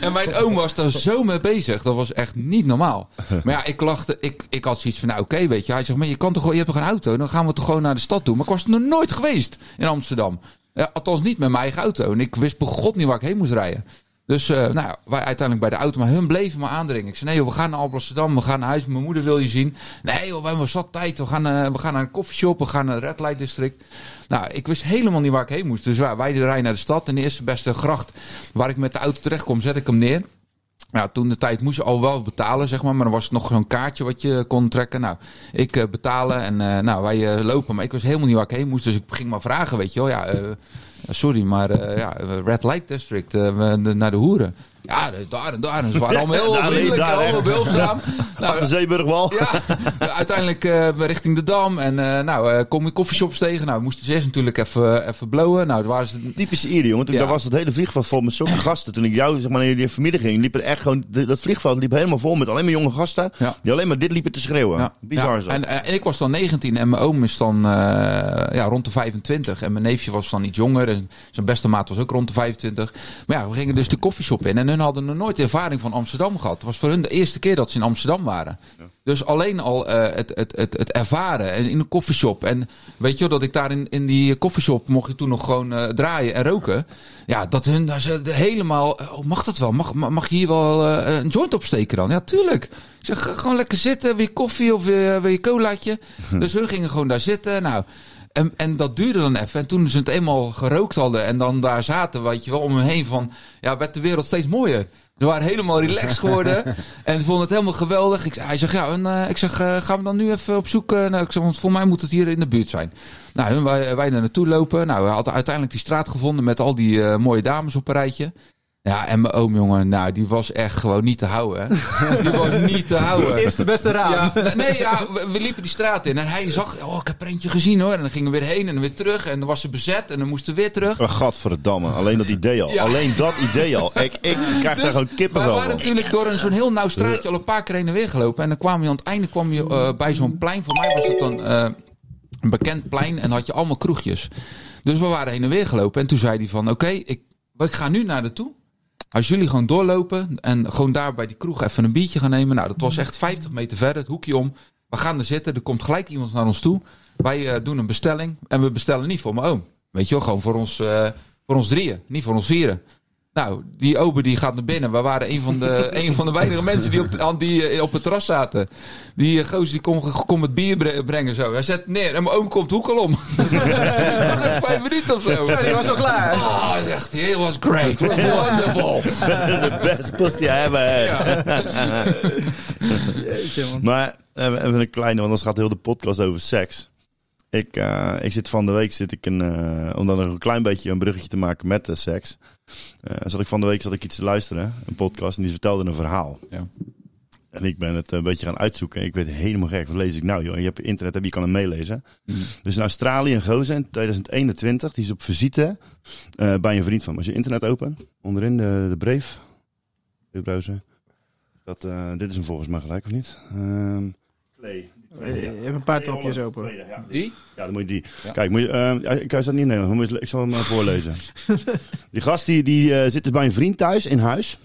S6: en mijn oom was daar zo mee bezig. Dat was echt niet normaal. Maar ja, ik lachte. Ik, ik had zoiets van, nou oké, weet je. Hij zegt, maar je, kan toch, gewoon- je hebt toch een auto? Dan gaan we toch gewoon naar de stad toe. Maar ik was er nog nooit geweest in Amsterdam. Ja, althans niet met mijn eigen auto. En ik wist bij god niet waar ik heen moest rijden. Dus eh, nou, ja, wij uiteindelijk bij de auto. Maar hun bleven me aandringen. Ik zei, nee joh, we gaan naar Amsterdam. We gaan naar huis. Mijn moeder wil je zien. Nee joh, we hebben zat tijd. We gaan, eh, we gaan naar een koffieshop. We gaan naar het Red Light District. Nou, ik wist helemaal niet waar ik heen moest. Dus wij, wij rijden naar de stad. En de eerste beste gracht waar ik met de auto terecht kom, zet ik hem neer. Nou, toen de tijd moest je al wel betalen, zeg maar. Maar dan was het nog zo'n kaartje wat je kon trekken. Nou, ik eh, betalen en eh, nou, wij eh, lopen. Maar ik wist helemaal niet waar ik heen moest. Dus ik ging maar vragen, weet je wel. Ja, eh, sorry, maar eh, ja, Red Light District, eh, we- de- naar de hoeren. Ja, de- daar en daar. En ze waren allemaal heel
S2: Daar,
S6: vriendelijk,
S2: daar,
S6: en allemaal
S2: echt.
S6: behulpzaam.
S2: Achter
S6: Nou,
S2: Zeeburgwal.
S6: ja, uiteindelijk eh, richting de Dam. En eh, nou, eh, kom je koffieshops tegen. Nou, we moesten ze eerst natuurlijk even, even blowen. Nou, daar waren ze
S2: Typisch Ieren, jongen. Toen,
S6: Ja.
S2: Daar was het hele vliegveld vol met zulke gasten. Toen ik jou, zeg maar, naar jullie familie ging, liep er echt gewoon... de- Dat vliegveld liep helemaal vol met alleen maar jonge gasten.
S6: Ja.
S2: Die alleen maar dit liepen te schreeuwen.
S6: Ja.
S2: Bizar
S6: Ja.
S2: zo.
S6: En, eh, en ik was dan 19 en mijn oom is dan eh, ja, rond de 25. En mijn neefje was dan iets jonger. En zijn beste maat was ook rond de 25. Maar ja, we gingen dus de koffieshop in. En hun hadden nog nooit ervaring van Amsterdam gehad. Het was voor hun de eerste keer dat ze in Amsterdam waren. Dus alleen al eh, het, het, het, het ervaren en in een koffieshop. En weet je wel, dat ik daar in, in die koffieshop mocht je toen nog gewoon eh, draaien en roken. Ja, dat hun daar ze helemaal... Oh, mag dat wel? Mag, mag je hier wel eh, een joint opsteken dan? Ja, tuurlijk. Ik zeg, ga gewoon lekker zitten. Wil je koffie of wil je, wil je colaatje? dus hun gingen gewoon daar zitten. Nou... En, en dat duurde dan even. En toen ze het eenmaal gerookt hadden en dan daar zaten, weet je wel, om hem heen van, ja, werd de wereld steeds mooier. Ze waren helemaal relaxed geworden. en ze vonden het helemaal geweldig. Ik, zei- hij zegt, ja, en, eh, ik zeg, eh, gaan we dan nu even op zoek? eh, nou, ik zeg, want voor mij moet het hier in de buurt zijn. Nou, hun, wij, wij daar naartoe lopen. Nou, we hadden uiteindelijk die straat gevonden met al die eh, mooie dames op een rijtje. Ja, en mijn oom, jongen, nou, die was echt gewoon niet te houden. hè. die was niet te houden.
S7: Eerst de beste raam.
S6: Ja, nee, ja, we, we liepen die straat in en hij zag, oh, ik heb er eentje gezien hoor. En dan gingen we weer heen en weer terug en dan was ze bezet en dan moesten we weer terug.
S2: Oh, Gadverdamme, alleen dat idee al.
S6: Ja.
S2: Alleen dat idee al. Ik, ik krijg daar
S6: Dus
S2: gewoon
S6: Wij
S2: kippenvel
S6: waren
S2: van.
S6: natuurlijk door een, zo'n heel nauw straatje al een paar keer heen en weer gelopen. En dan kwam je aan het einde kwam je, eh, bij zo'n plein. Voor mij was het dan eh, een bekend plein en had je allemaal kroegjes. Dus we waren heen en weer gelopen. En toen zei hij van, oké, ik, ik ga nu naar de toe. Als jullie gewoon doorlopen en gewoon daar bij die kroeg even een biertje gaan nemen. Nou, dat was echt 50 meter verder, het hoekje om. We gaan er zitten, er komt gelijk iemand naar ons toe. Wij eh, doen een bestelling en we bestellen niet voor mijn oom. Weet je wel, gewoon voor ons, eh, voor ons drieën, niet voor ons vieren. Nou, die ober die gaat naar binnen. We waren een van de, een van de weinige mensen die op, de- aan die, eh, op het terras zaten. Die eh, gozer die kon, kon het bier bre- brengen zo. Hij zet neer en mijn oom komt hoekel om. Dat was echt vijf minuten of zo.
S7: Sorry, was al klaar.
S6: Oh, hij zegt, it was great. Wonderful.
S2: De best pussy hebben. Maar eh, even een kleine, want anders gaat heel de podcast over seks. Ik, eh, ik zit van de week, zit ik een, eh, om dan nog een klein beetje een bruggetje te maken met de seks. Eh, zat ik van de week zat ik iets te luisteren, een podcast, en die vertelde een verhaal.
S6: Ja.
S2: En ik ben het een beetje gaan uitzoeken. Ik werd helemaal gek. Wat lees ik nou, joh? Je hebt internet, heb je kan hem meelezen. Dus in Australië, een gozer in 2021, die is op visite eh, bij een vriend van me. Als je internet open, onderin de, de brief, de browser. Dat, eh, dit is hem volgens mij gelijk, of niet? Ehm Clay.
S7: Je hebt een paar topjes open.
S2: Ja,
S6: Die?
S2: ja, dan moet je die.
S6: Ja.
S2: Kijk, moet je, eh, ja, ik kan dat niet in Nederland. moet je- Ik zal hem eh, voorlezen. die gast die, die eh, zit dus bij een vriend thuis in huis.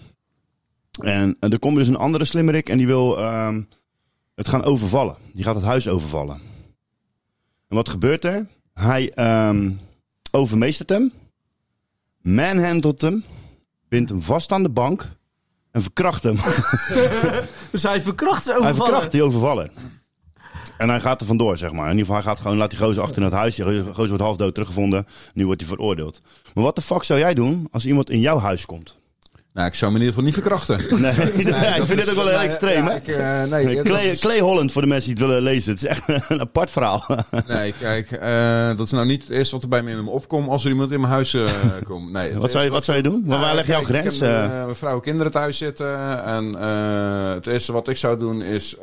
S2: En eh, er komt dus een andere slimmerik en die wil ehm, het gaan overvallen. Die gaat het huis overvallen. En wat gebeurt er? Hij ehm, overmeestert hem, manhandelt hem, bindt hem vast aan de bank en verkracht hem.
S7: Dus hij verkracht ze
S2: Hij
S7: overvallen.
S2: verkracht die overvaller. En hij gaat er vandoor, zeg maar. In ieder geval, hij gaat gewoon, laat die gozer achter in het huis. Die gozer wordt half dood teruggevonden. Nu wordt hij veroordeeld. Maar wat de fuck zou jij doen als iemand in jouw huis komt?
S1: Nou, ik zou me in ieder geval niet verkrachten.
S2: Nee, ik vind dit ook wel heel extreem, hè?
S1: eh, nee, dat
S2: Clay,
S1: is-
S2: Clay Holland, voor de mensen die het willen lezen. Het is echt een apart verhaal.
S1: nee, kijk, eh, dat is nou niet het eerste wat er bij me in me opkomt als er iemand in mijn huis eh, komt. Nee, het
S2: Wat zou je, wat zou je doen? Waar, waar leg je jouw
S1: Nou, Kijk, ik
S2: grens?
S1: heb,
S2: eh?
S1: eh, mijn vrouw en kinderen thuis zitten. En eh, het eerste wat ik zou doen is eh,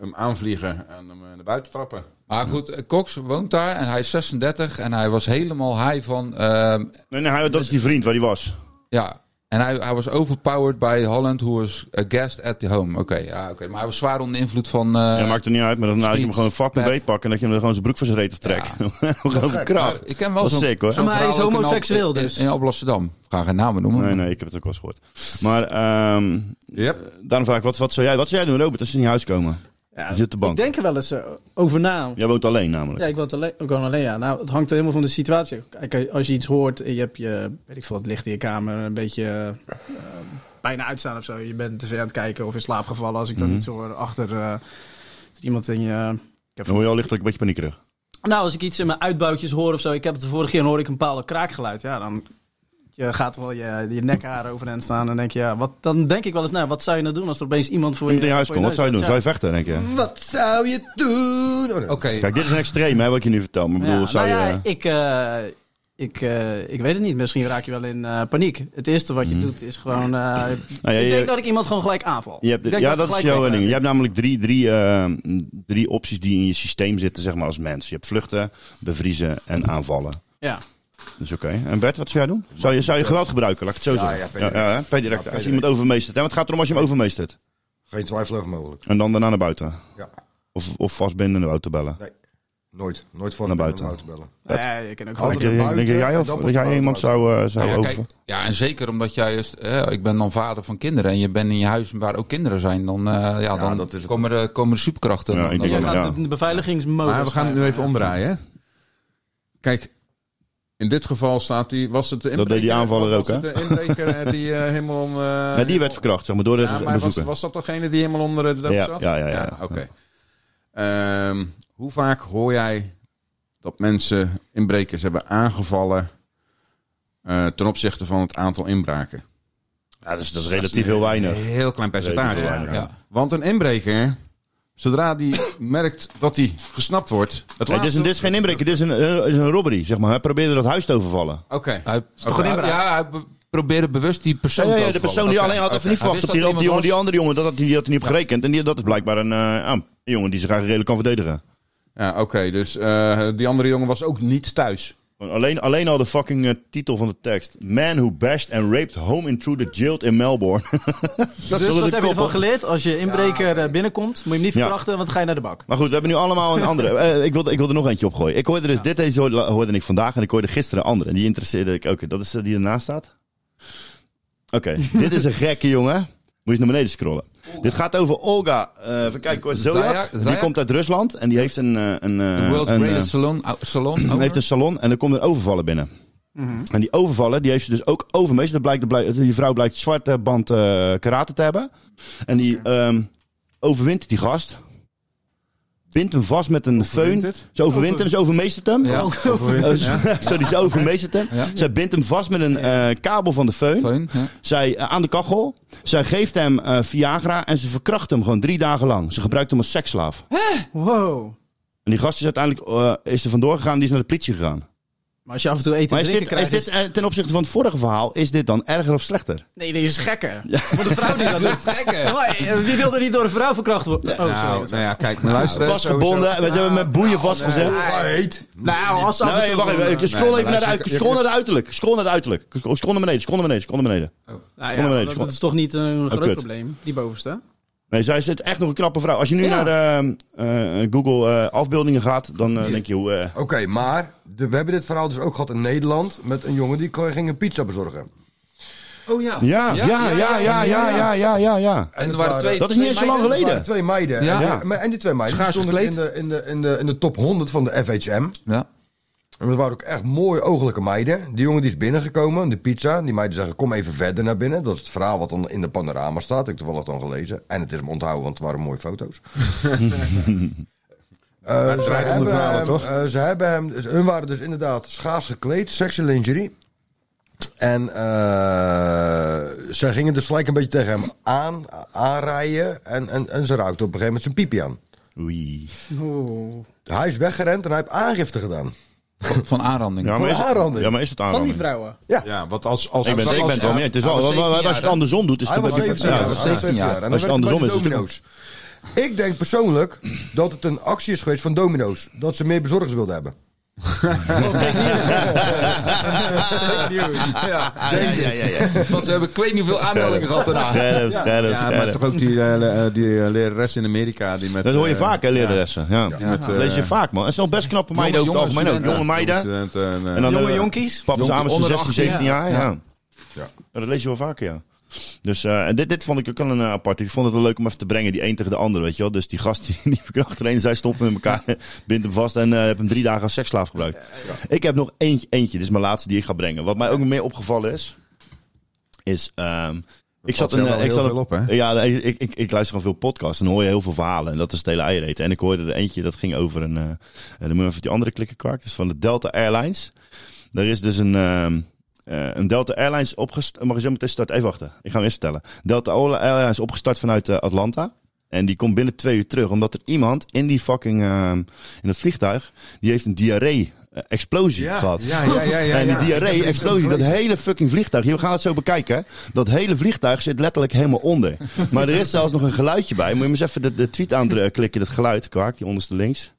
S1: hem aanvliegen en hem eh, naar buiten trappen.
S6: Maar goed, eh, Cox woont daar en hij is 36 en hij was helemaal high van... ehm,
S2: nee, nee, hij- dat is die vriend waar hij was.
S6: ja, en hij, hij was overpowered bij Holland, who was a guest at the home. Oké, ja, oké. Maar hij was zwaar onder invloed van... eh,
S2: ja, maakt er niet uit, maar dan laat je hem
S6: Smit,
S2: gewoon een fucking
S6: Pep.
S2: beet pakken. En dat je hem dan gewoon zijn broek van zijn reet aftrekt. gewoon
S6: maar
S2: verkracht.
S6: ik ken wel
S2: Dat is
S6: zo'n...
S2: sick, hoor.
S6: zo'n
S7: Maar hij is
S6: verhaal ook in Al-
S7: homoseksueel
S6: in- in-
S7: dus.
S6: In Alblasserdam. Ik ga geen namen noemen.
S2: Nee, nee, ik heb het ook wel eens gehoord. Maar ehm,
S1: Yep.
S2: daarom vraag ik, wat, wat, zou jij, wat zou jij doen, Robert, als ze in je huis komen?
S7: Ja,
S2: Hij zit op de bank.
S7: ik denk er wel eens eh, over na.
S2: Jij woont alleen namelijk.
S7: Ja, ik woon alleen, ik woon alleen ja. Nou, het hangt er helemaal van de situatie. Kijk, eh, als je iets hoort en je hebt je, weet ik veel, het licht in je kamer een beetje eh, bijna uitstaan of zo. Je bent tv aan het kijken of in slaap gevallen. Als ik dan
S2: Mhm.
S7: iets hoor achter eh, dat er iemand in je...
S2: Dan word je al lichtelijk een beetje paniekerig.
S7: Nou, als ik iets in mijn uitbouwtjes hoor of zo. Ik heb het de vorige keer hoor ik een bepaalde kraakgeluid. Ja, dan Je gaat wel je, je nekharen overeind staan en denk je, ja, wat, dan denk ik wel eens, nou, wat zou je nou doen als er opeens iemand voor je...
S2: Iemand in je huis
S7: voor
S2: komt, wat zou je doen?
S7: neus
S2: Zou je
S7: staat?
S2: vechten, denk je?
S3: Wat zou je doen? Oh, nee.
S1: Oké,
S2: Kijk, dit is een extreem, hè, wat ik je nu vertel. Maar ik bedoel,
S7: Ja,
S2: zou
S7: nou
S2: je...
S7: ja, ik, eh, ik, eh, ik weet het niet. Misschien raak je wel in eh, paniek. Het eerste wat je doet is gewoon... eh,
S2: Nou Mhm. ja,
S7: ik denk
S2: je-
S7: dat ik iemand gewoon gelijk aanval.
S2: Je hebt,
S7: Ik denk
S2: ja,
S7: ik
S2: dat is
S7: gelijk
S2: jouw
S7: denk,
S2: ding.
S7: eh,
S2: Je hebt namelijk drie, drie, eh, drie opties die in je systeem zitten, zeg maar, als mens. Je hebt vluchten, bevriezen en aanvallen.
S7: eh, Ja.
S2: Dus oké. En Bert, wat zou jij doen? Zou je, zou je geweld gebruiken, laat ik het zo
S3: Ja,
S2: zeggen?
S3: ja, per direct.
S2: hè, per direct.
S3: Ja, per
S2: als je iemand overmeestert. En wat gaat er om als je hem overmeestert?
S3: Geen twijfel over mogelijk.
S2: En dan daarna naar buiten?
S3: Ja.
S2: Of, of vastbinden en de auto bellen?
S3: Nee. Nooit. Nooit voor
S2: Naar
S3: de
S2: buiten.
S3: auto bellen.
S2: Dat-
S7: Ja, je kan
S3: Altijd
S7: ook gelijk...
S2: Denk je-
S3: buiten
S2: denk je jij
S3: en
S2: of
S3: dan
S2: dat jij
S3: pas
S2: iemand zou, eh, zou
S6: ja,
S2: over...
S6: kijk, ja, en zeker omdat jij, juist, eh, ik ben dan vader van kinderen en je bent in je huis waar ook kinderen zijn, dan, eh, ja, dan
S3: dat is het.
S6: komen, er, komen er superkrachten.
S2: Ja,
S6: Dan-
S2: ik
S6: dan-
S2: denk
S7: Je
S2: Ja,
S7: gaat
S2: ja.
S7: de beveiligingsmodus...
S1: maar we gaan het nu
S7: eh,
S1: even omdraaien. hè. Kijk, in dit geval staat die... Was het de
S2: Dat deed die
S1: inbreker?
S2: aanvaller
S1: Was
S2: ook, hè?
S1: het De inbreker eh, die eh, helemaal... eh,
S2: Ja, die werd verkracht, zeg maar, door eh, de
S1: Ja, maar was,
S2: bezoeker.
S1: was dat degene die helemaal onder de dood
S2: Ja,
S1: zat?
S2: ja, ja, ja.
S1: Oké. Ehm, hoe vaak hoor jij dat mensen inbrekers hebben aangevallen eh, ten opzichte van het aantal inbraken?
S2: Ja, dus dat is, dat is relatief heel weinig.
S1: Een heel klein percentage.
S2: Relatief heel weinig.
S6: ja.
S1: Want een inbreker, zodra die merkt dat hij gesnapt wordt... Het
S2: Nee, dit, is
S1: laatste-
S2: een, dit is geen inbreken, dit is een, eh, is een robbery, zeg maar. Hij probeerde dat huis te overvallen.
S1: Oké.
S6: Hij,
S1: toch een inbraak?
S6: ja, hij be- probeerde bewust die persoon
S2: Ja, ja,
S6: te
S2: ja, de persoon die alleen had even niet verwacht op die, op die jongen, die andere jongen, dat had, die had er niet op gerekend. En die, dat is blijkbaar een eh, ah, een jongen die zich eigenlijk redelijk kan verdedigen.
S1: Ja, oké. dus eh, die andere jongen was ook niet thuis.
S2: Want Alleen, alleen al de fucking eh, titel van de tekst. Man who bashed and raped home intruder jailed in Melbourne. dat
S7: Dus
S2: is
S7: wat
S2: de
S7: heb je ervan
S2: kop, hoor.
S7: geleerd? Als je inbreker eh, binnenkomt, moet je hem niet
S2: Ja.
S7: verkrachten, want dan ga je naar de bak.
S2: Maar goed, we hebben nu allemaal een andere. Eh, ik, wilde, ik wilde er nog eentje opgooien. Ik hoorde dus, dit deze hoorde, hoorde ik vandaag en ik hoorde gisteren een andere. En die interesseerde ik ook. Dat is eh, die ernaast staat? Oké, dit is een gekke jongen. Moet je eens naar beneden scrollen. Dit gaat over Olga. eh even kijken hoor. Zojak.
S6: Zajak,
S2: Die
S6: Zajak?
S2: komt uit Rusland en die heeft een... eh, een
S6: De
S2: eh,
S6: world's
S2: een,
S6: greatest
S2: eh,
S6: salon. ou- salon owner.
S2: heeft een salon en er komt een overvaller binnen. En die overvaller, die heeft ze dus ook overmeesterd. Dat blijkt, dat blijkt, die vrouw blijkt zwarte band eh, karate te hebben. En die ehm, overwint die gast. Wint hem vast met een
S1: Overwint
S2: föhn.
S1: het?
S2: Ze overwint hem, ze overmeestert hem.
S6: ja,
S2: Eh, Sorry, ze overmeestert hem.
S6: Ja.
S2: Zij bindt hem vast met een eh, kabel van de föhn.
S6: Feun, ja.
S2: Zij eh, aan de kachel. Zij geeft hem eh, Viagra en ze verkracht hem gewoon drie dagen lang. Ze gebruikt hem als seksslaaf.
S7: Wow.
S2: En die gast is uiteindelijk eh, is er vandoor gegaan. Die is naar de politie gegaan.
S7: Maar als je af en toe eten
S2: Maar
S7: en
S2: is
S7: drinken
S2: dit, is
S7: krijgt...
S2: dit eh, ten opzichte van het vorige verhaal, is dit dan erger of slechter?
S7: Nee, dit is gekker. Voor de vrouw die dat doet.
S6: Gekke.
S7: Maar, eh, Wie wilde niet door een vrouw verkracht worden? Oh, sorry.
S1: nou, nou ja, kijk. Nou, luister, hè,
S2: Vastgebonden, we hebben hem met boeien vastgezet.
S3: Heet.
S7: Nou, als ze af en
S2: Nee,
S7: toe-
S2: wacht even. ik Scroll
S1: maar
S2: even naar de,
S1: luister,
S2: uit-
S1: je-
S2: scroll naar de uiterlijk. Scroll naar de uiterlijk. Scroll naar beneden, scroll naar beneden, scroll naar beneden.
S7: Nou
S2: Kom maar
S7: ja,
S2: beneden,
S7: dat,
S2: kom.
S7: dat is toch niet een groot
S2: kut.
S7: probleem, die bovenste.
S2: Nee, zij zit echt nog een knappe vrouw. Als je nu
S7: Ja.
S2: naar de, eh, eh, Google eh, afbeeldingen gaat, dan eh, denk je hoe... eh,
S3: Oké, maar de, we hebben dit verhaal dus ook gehad in Nederland met een jongen die kon- ging een pizza bezorgen.
S6: Oh ja.
S2: ja, ja, ja, ja, ja, ja, ja, ja, ja.
S6: En er waren twee.
S2: Dat is niet eens zo lang
S3: Er waren
S2: geleden.
S3: twee meiden.
S6: Ja.
S3: En,
S2: Ja.
S3: die- maar- en die twee meiden die
S6: Schaars
S3: stonden in de,
S6: gekleed.
S3: in, de, in, de, in de top 100 van de FHM.
S6: Ja.
S3: En dat waren ook echt mooie oogelijke meiden. Die jongen die is binnengekomen, de pizza. Die meiden zeggen, kom even verder naar binnen. Dat is het verhaal wat dan in de panorama staat. Ik heb toevallig dan gelezen. En het is hem onthouden, want het waren mooie foto's. Eh,
S1: om
S3: ze,
S1: de
S3: hebben
S1: verhalen,
S3: hem,
S1: toch?
S3: eh, ze hebben hem... dus hun waren dus inderdaad schaars gekleed, sexy lingerie. En eh, zij gingen dus gelijk een beetje tegen hem aan, aanrijden. En, en, en ze ruikte op een gegeven moment zijn piepje aan.
S2: Oei.
S7: Oeh.
S3: Hij is weggerend en hij heeft aangifte gedaan.
S6: Van, van aanranding.
S2: Ja,
S3: Voor
S2: maar is het,
S3: aanranding.
S2: ja, maar is het
S7: Van die
S2: aanranding?
S7: vrouwen.
S1: Ja, want als... als
S2: Ik ben, ik ben het wel mee. Het is wel,
S6: Hij was
S2: wel- wel- als je
S6: 17 jaar,
S2: het
S6: hè?
S2: andersom doet, is
S3: Hij
S2: het
S3: was
S2: bij-
S3: 17
S2: ja,
S3: jaar.
S6: hij
S3: Hij
S6: was
S3: was 17
S6: jaar.
S3: jaar. En dan
S2: Als
S3: werd
S2: het
S3: hij bij
S2: andersom
S3: de
S2: is, is het
S3: domino's. Ik denk persoonlijk dat het een actie is geweest van domino's. Dat ze meer bezorgers wilden hebben.
S6: Ja.
S2: Ah, ja, ja, ja, ja.
S6: Want ze hebben ik weet niet hoeveel aanmeldingen gehad daarna.
S2: Scherp, scherp,
S1: Ja, maar
S2: scherp.
S1: toch ook die, eh, eh, die eh, lerares in Amerika die met...
S2: Dat hoor je
S1: eh,
S2: vaak, hè, leraressen. Ja.
S1: met,
S2: Dat lees je
S1: eh,
S2: vaak, man. Het zijn best knappe meiden
S6: jonge-
S2: over het
S6: jonge
S2: algemeen ook. Jonge
S6: studenten.
S2: meiden.
S1: studenten en, eh,
S2: En dan,
S7: Jonge
S2: eh,
S7: jonkies.
S2: Papa
S6: Jongen
S2: samen
S6: onder
S2: 16,
S6: 18,
S2: 17 jaar. Ja.
S6: ja.
S2: Ja, dat lees je wel vaker, ja. Dus eh, en dit, dit vond ik ook wel een eh, apart. Ik vond het wel leuk om even te brengen, die een tegen de ander, weet je wel. Dus die gast die, die verkracht er een, zij stoppen met elkaar, bindt hem vast en eh heb hem drie dagen als seksslaaf gebruikt. Ik heb nog eentje, eentje, dit is mijn laatste die ik ga brengen. Wat mij ook meer opgevallen is, is... ehm, ik
S1: valt
S2: zat een,
S1: jou wel
S2: eh, ik
S1: heel
S2: zat
S1: veel op, hè?
S2: Ja, nee, ik, ik, ik luister gewoon veel podcasts en dan hoor je heel veel verhalen. En dat is het hele eiereten. En ik hoorde er eentje, dat ging over een... eh eh, dan moet ik even die andere klikken kwijt. Dat is van de Delta Airlines. Er is dus een... ehm, eh, een Delta Airlines opgestart. Mag ik zo meteen starten? Even wachten. Ik ga hem eerst vertellen. Delta Airlines opgestart vanuit eh, Atlanta. En die komt binnen twee uur terug. Omdat er iemand in die fucking... ehm, in dat vliegtuig... Die heeft een diarree... eh, explosie gehad.
S1: ja, ja, ja, ja,
S2: en die
S1: ja. Ik
S2: diarree,
S1: heb-
S2: explosie, dat hele fucking vliegtuig. Hier, we gaan het zo bekijken. hè. Dat hele vliegtuig zit letterlijk helemaal onder. Maar er is zelfs nog een geluidje bij. Moet je maar eens even de, de tweet aanklikken, dat geluid, kwaak, die onderste links.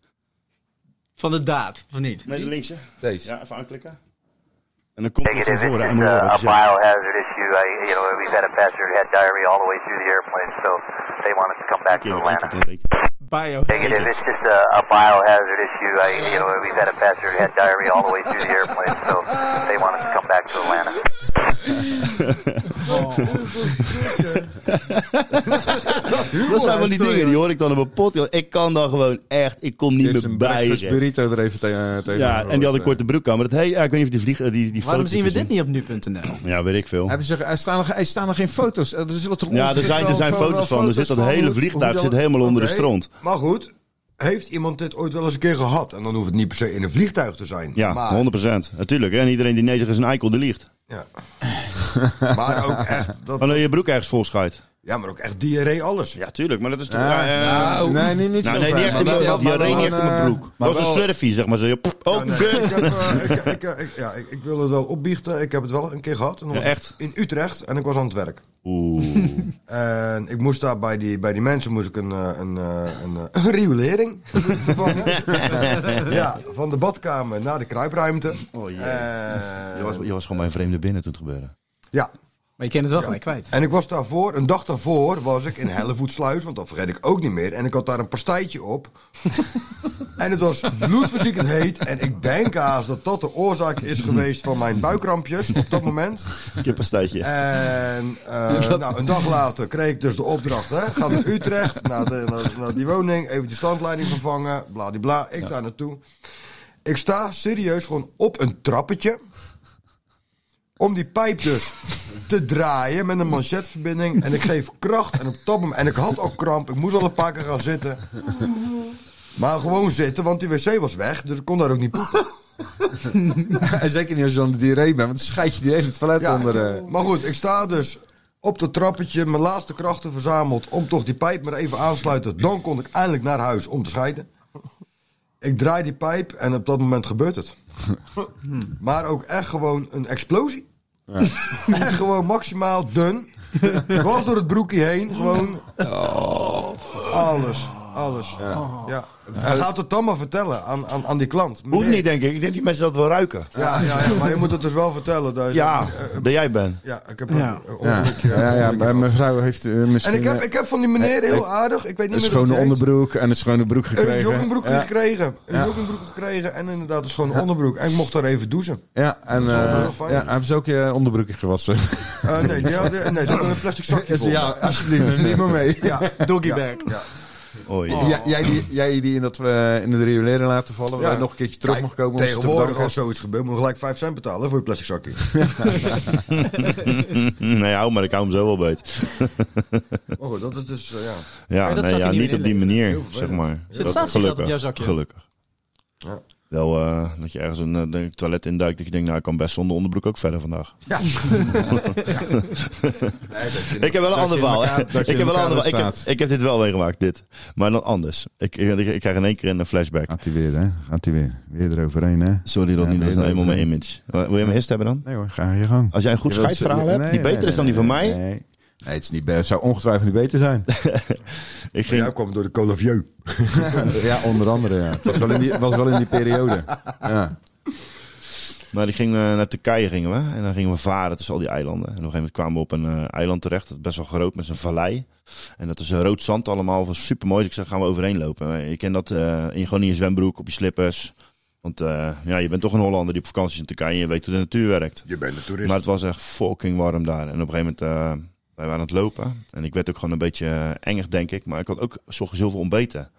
S7: Van de daad, of niet?
S2: Nee, de linkse.
S6: Deze.
S2: Ja, even aanklikken. En dan komt
S9: Take
S2: het
S9: it
S2: van
S9: as if
S2: voren
S9: it's
S2: en we
S10: eh,
S2: horen
S9: uh,
S2: het.
S9: a
S2: dus ja.
S9: biohazard issue. I, you know, we've had a passenger who had diarrhea all the way through the airplane, so they want us to come back
S2: Keer
S9: to
S2: nog één
S9: Atlanta.
S2: keer, nog één keer.
S7: Bio.
S9: Take it as it's just a, a biohazard issue. I, you know, we've had a passenger who had diarrhea all the way through the airplane, so they want us to come back to Atlanta.
S2: Dat zijn wel die
S7: sorry,
S2: dingen, die hoor ik dan op mijn pot. joh. Ik kan dan gewoon echt, ik kom niet
S1: Eerst
S2: meer
S1: een
S2: bij.
S1: breakfast
S2: zeg.
S1: burrito er even tegen. eh. tegen
S2: Ja, en die had een korte broek aan. Maar dat, hey, ja, ik weet niet of die vlieg... eh, Die, die
S7: Waarom
S2: foto
S7: zien we
S2: te
S7: dit niet op nu.nl?
S2: Ja, weet ik veel.
S1: Hebben ze, er, staan er, er staan er geen foto's. Er zullen toch
S2: Ja, er zijn, er zijn foto's van. Er zit dat hele vliegtuig zit helemaal onder de
S3: Oké,
S2: stront.
S3: Maar goed, heeft iemand dit ooit wel eens een keer gehad? En dan hoeft het niet per se in een vliegtuig te zijn. maar,
S2: Ja, 100%. Natuurlijk. hè. En iedereen die nee zegt is een eikel, die liegt.
S3: Ja. maar ook echt, dat,
S2: Wanneer je broek ergens vol schuit.
S3: ja, maar ook echt diarree alles.
S2: Ja, tuurlijk. Maar dat is toch...
S1: Ja,
S2: ja, eh,
S1: nou,
S6: oh.
S1: nee, nee, niet zo
S2: nou, nee, niet echt in
S6: maar
S2: mijn
S6: wel-
S2: broek. Diarree niet echt in
S1: eh,
S2: mijn broek.
S6: maar
S2: Dat was een
S6: wel-
S2: slurfie, zeg maar. Zo, je- pff, oh,
S3: Ja, nee,
S2: kut.
S3: ik, heb, eh, ik, ik, eh, ik- ja, ik, ik wil het wel opbiechten. Ik heb het wel een keer gehad. En dat
S2: Ja,
S3: was
S2: echt?
S3: In Utrecht. En ik was aan het werk.
S2: Oeh.
S3: En ik moest daar bij die, bij die mensen moest ik een, eh, een, eh, een, eh, een riolering vervangen. ja, van de badkamer naar de kruipruimte.
S2: Oh, jee.
S3: Eh,
S2: Je was, je was gewoon bij een vreemde binnen toen het gebeurde.
S3: ja,
S7: Maar je kent het wel gelijk kwijt.
S3: en ik was daarvoor, een dag daarvoor, was ik in Hellevoetsluis, want dat vergeet ik ook niet meer. En ik had daar een pastijtje op. en het was bloedverziekend heet. En ik denk haast dat dat de oorzaak is geweest van mijn buikrampjes op dat moment.
S2: Kippenstijtje.
S3: En eh, nou, een dag later kreeg ik dus de opdracht. Hè, ga naar Utrecht, naar, de, naar, naar die woning, even die standleiding vervangen. Bladibla, ik daar naartoe. Ik sta serieus gewoon op een trappetje. Om die pijp dus te draaien met een manchetverbinding. En ik geef kracht en op dat moment. En ik had ook kramp. Ik moest al een paar keer gaan zitten. Maar gewoon zitten, want die wc was weg. Dus ik kon daar ook niet poepen.
S1: En zeker niet als je dan de diarree bent, want dan scheid je die hele toilet
S3: Ja,
S1: onder. eh.
S3: Maar goed, ik sta dus op dat trappetje, mijn laatste krachten verzameld om toch die pijp maar even aansluiten. Dan kon ik eindelijk naar huis om te scheiden. Ik draai die pijp en op dat moment gebeurt het.
S2: Hmm.
S3: Maar ook echt gewoon een explosie. echt gewoon maximaal dun. Was door het broekje heen, gewoon.
S2: Oh.
S3: Alles, alles. Ja. En gaat het dan maar vertellen aan, aan, aan die klant.
S2: Hoeft
S3: Meneer,
S2: niet, denk ik. Ik denk die mensen dat wel ruiken.
S3: Ja, ja, ja, maar je moet het dus wel vertellen. Dus
S2: Ja,
S3: eh,
S2: dat jij bent.
S3: ja, ik heb
S7: Ja.
S3: een, een
S1: Ja,
S3: ongelukje.
S1: ja, ja, maar mijn vrouw heeft eh, misschien
S3: En ik heb,
S1: eh,
S3: ik heb van die meneer heel
S1: heeft
S3: aardig, ik weet niet
S1: een
S3: meer hoe
S1: schone
S3: die heet,
S1: onderbroek en een schone broek gekregen.
S3: Een joggingbroek
S1: ja,
S3: gekregen. Een
S1: Ja.
S3: joggingbroek gekregen en inderdaad een schone onderbroek. En ik mocht daar even douchen.
S1: ja, en
S3: is wel
S1: eh,
S3: heel fijn.
S1: ja, hebben ze ook je onderbroekje gewassen?
S3: Eh, nee, die had, nee, ze hadden een plastic zakje vol.
S1: ja, alsjeblieft, neem die maar mee.
S3: ja.
S7: Doggy
S3: Ja.
S7: bag.
S3: ja.
S2: Oh, ja.
S1: Ja, jij, die, jij die in, dat, eh, in de riolering laten vallen, waar
S3: Ja.
S1: je nog een keertje terug
S3: Kijk,
S1: mag komen. om ze te
S3: Tegenwoordig,
S1: bedanken.
S3: als zoiets gebeurt, moet je gelijk 5 cent betalen voor je plastic zakje.
S2: Nee, hou maar. Ik hou hem zo wel beet.
S3: Maar goed, dat is dus, eh, ja.
S2: Ja,
S7: Maar dat
S2: nee,
S7: zag je
S2: ja
S7: niet
S2: niet op die manier, zeg maar.
S7: Zit staatsie geld op jouw zakje?
S2: Gelukkig.
S3: Ja.
S2: Wel eh, dat je ergens een eh, denk ik, toilet induikt dat je denkt, nou ik kan best zonder onderbroek ook verder vandaag.
S3: Ja.
S2: ik heb wel een ander
S1: je in
S2: verhaal. hè.
S1: elkaar- dat
S2: Ik
S1: je in
S2: heb wel een
S1: elkaar
S2: ander verhaal. Ik heb,
S1: staat.
S2: ik heb dit wel meegemaakt, dit. Maar dan anders. Ik, ik, ik krijg in één keer een flashback.
S1: Gaat hij weer, hè? Gaat hij weer. Weer eroverheen, hè?
S2: Sorry Rodney,
S1: Ah. Ja,
S2: dat is nou
S1: nee,
S2: eenmaal
S1: nee.
S2: mijn image. Maar Wil je hem eerst hebben dan?
S1: Nee hoor, ga je gang.
S2: Als jij een goed
S1: Je wilt-
S2: scheidverhaal hebt,
S1: Nee,
S2: die beter
S1: nee,
S2: is dan die van
S1: nee,
S2: mij.
S1: Nee, nee het, is niet, be- het zou ongetwijfeld niet beter zijn.
S2: Ik
S3: Maar
S2: ging,
S3: Jij kwam door de Colavieu.
S1: ja, onder andere, ja. Het was wel in die, was wel in die periode. Ja.
S2: Maar die gingen eh, naar Turkije gingen we. En dan gingen we varen tussen al die eilanden. En op een gegeven moment kwamen we op een eh, eiland terecht. Dat is best wel groot met zijn vallei. En dat is een rood zand allemaal. Dat was super mooi. ik zei, gaan we overheen lopen. Je kent dat eh, in, gewoon in je zwembroek, op je slippers. Want eh, ja, je bent toch een Hollander die op vakantie is in Turkije. En je weet hoe de natuur werkt.
S3: Je bent een toerist.
S2: Maar het was echt fucking warm daar. En op een gegeven moment, eh, wij waren aan het lopen. En ik werd ook gewoon een beetje eh, engig, denk ik. Maar ik had ook 's ochtends heel veel ontbeten.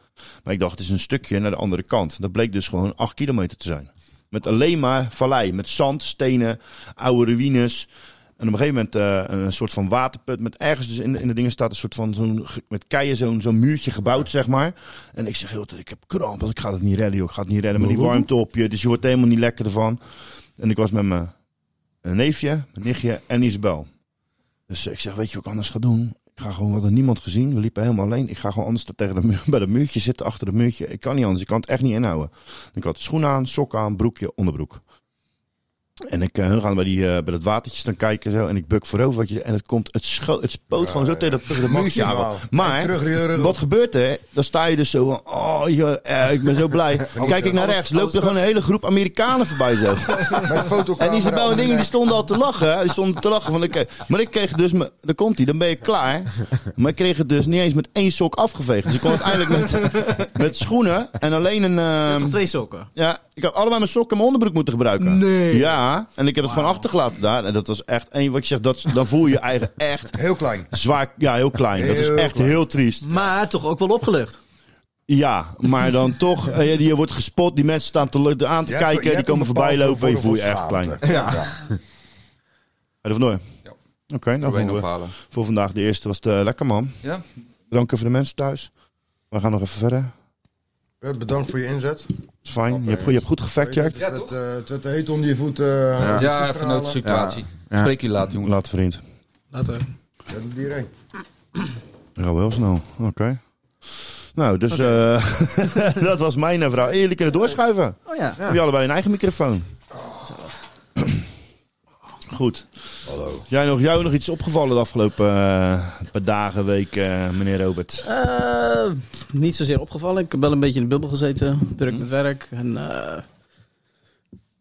S2: Maar ik dacht, het is een stukje naar de andere kant. Dat bleek dus gewoon 8 kilometer te zijn. Met alleen maar vallei. Met zand, stenen, oude ruïnes. En op een gegeven moment eh, een soort van waterput. Met ergens dus in de, in de dingen staat een soort van zo'n, ge- met keien zo'n, zo'n muurtje gebouwd, zeg maar. En ik zeg heel de tijd, ik heb kramp, want ik ga het niet redden, joh. Ik ga het niet redden met die warmte op je. Dus je wordt er helemaal niet lekker ervan. En ik was met mijn een neefje, een nichtje en Isabel. Dus ik zeg, weet je wat ik anders ga doen? Ik ga gewoon, we hadden niemand gezien, we liepen helemaal alleen. Ik ga gewoon anders tegen de muur, bij dat muurtje zitten, achter dat muurtje. Ik kan niet anders, ik kan het echt niet inhouden. Ik had schoenen aan, sokken aan, broekje, onderbroek. En ik, eh, hun gaan bij, die, eh, bij dat watertje staan kijken zo, en ik buk voorover. Wat je, en het, komt, het, scho- het spoot gewoon zo tegen dat, tegen dat muurtje aan.
S3: Maximaal. En
S2: Maar
S3: terug die rug op.
S2: wat gebeurt er? Dan sta je dus zo van, oh, je, eh, ik ben zo blij. Kijk ik naar rechts, loopt er gewoon een hele groep Amerikanen voorbij zo.
S3: Met
S2: En
S3: fotocamera.
S2: Isabel
S3: om
S2: en
S3: de
S2: Dingen die
S3: nek.
S2: stonden al te lachen. hè. Die stonden te lachen van, oké. Maar ik kreeg dus, me- daar komt hij, dan ben je klaar. Maar ik kreeg het dus niet eens met één sok afgeveegd. Dus ik kon uiteindelijk met, met schoenen en alleen een... ehm,
S7: Twee sokken.
S2: ja, ik had allebei mijn sokken en mijn onderbroek moeten gebruiken.
S7: Nee.
S2: Ja, en ik heb het gewoon achtergelaten daar. En dat was echt, en wat je zegt, dat, dan voel je je eigen echt
S3: Heel klein.
S2: zwaar, ja, heel klein. Dat is
S3: Heel
S2: echt
S3: klein.
S2: heel triest.
S7: Maar toch ook wel opgelucht.
S2: Ja, maar dan toch, eh, je, je wordt gespot, die mensen staan te, lu- aan te
S3: Je hebt- je
S2: kijken, die
S3: hebt een
S2: komen voorbij
S3: bepaald
S2: lopen en je voelt
S3: gevoel
S2: je echt
S3: van
S2: klein.
S3: schaamte.
S2: Hey, de Van Nooy.
S6: Ja.
S2: Oké, nou
S6: Probeer
S2: gaan we-
S6: ophalen.
S2: voor vandaag de eerste was het eh, lekker man.
S6: Ja?
S2: Bedankt voor de mensen thuis. We gaan nog even verder.
S3: Eh, Bedankt voor je inzet.
S2: is fijn. Je hebt, je hebt goed gefactcheckt.
S6: Ja,
S3: Het werd,
S6: toch?
S3: eh, Het werd heet onder je voet. eh,
S6: Ja,
S3: goed
S6: even
S3: verhalen.
S6: noodsituatie.
S1: Ja.
S6: Spreek jullie later, jongens.
S2: Laat vriend.
S7: Laten we.
S3: Ja, doe die erheen.
S2: Ja, wel snel. Oké. Nou, dus eh, dat was mijn eh, verhaal. Hey, jullie kunnen doorschuiven. Hebben
S7: Oh ja.
S2: jullie allebei een eigen microfoon? Goed. Hallo. Jij nog, jou nog iets opgevallen de afgelopen eh, paar dagen, week, eh, meneer Robert?
S7: Eh, niet zozeer opgevallen. Ik heb wel een beetje in de bubbel gezeten. Druk met werk. En, eh,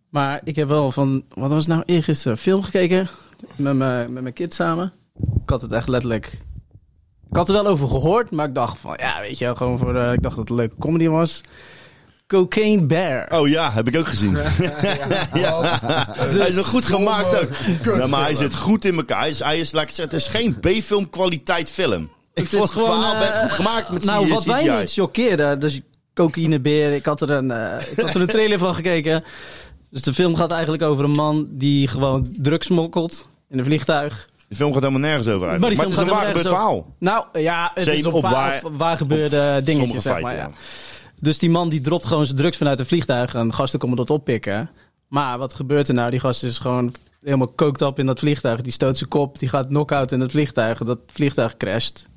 S7: maar ik heb wel van... Wat was het nou? Eergisteren film gekeken. Met mijn met mijn kind samen. Ik had het echt letterlijk... Ik had er wel over gehoord. Maar ik dacht van... Ja, weet je wel, Gewoon voor... eh, ik dacht dat het een leuke comedy was. Cocaine Bear.
S2: Oh ja, heb ik ook gezien. Ja. Hij is nog goed gemaakt ook. Nou, maar hij zit goed in elkaar. Hij is, hij is, laat ik zeggen, het is geen B-film kwaliteit film. Ik
S7: Het
S2: vond
S7: is
S2: het verhaal
S7: gewoon,
S2: best
S7: eh,
S2: goed gemaakt met eh,
S7: Nou,
S2: CGI.
S7: wat mij niet choqueerde, dus cocaïnebeer, ik had er een, eh, ik had er een trailer van gekeken. Dus de film gaat eigenlijk over een man die gewoon drugs smokkelt in een vliegtuig.
S2: De film gaat helemaal nergens over
S7: Maar die
S2: eigenlijk. Maar,
S7: film
S2: het is een waar
S7: gaat
S2: gebeurd
S7: helemaal
S2: verhaal.
S7: Nou ja, het
S2: Zeker
S7: is op,
S2: op
S7: waar,
S2: waar-
S7: op waar gebeurde
S2: Op
S7: dingetjes,
S2: sommige
S7: zeg maar.
S2: feiten,
S7: Ja.
S2: ja.
S7: Dus die man die dropt gewoon zijn drugs vanuit een vliegtuig en gasten komen dat oppikken. Maar wat gebeurt er nou? Die gast is gewoon helemaal kookt op in dat vliegtuig. Die stoot zijn kop, die gaat knock-out in het vliegtuig. Dat vliegtuig crasht.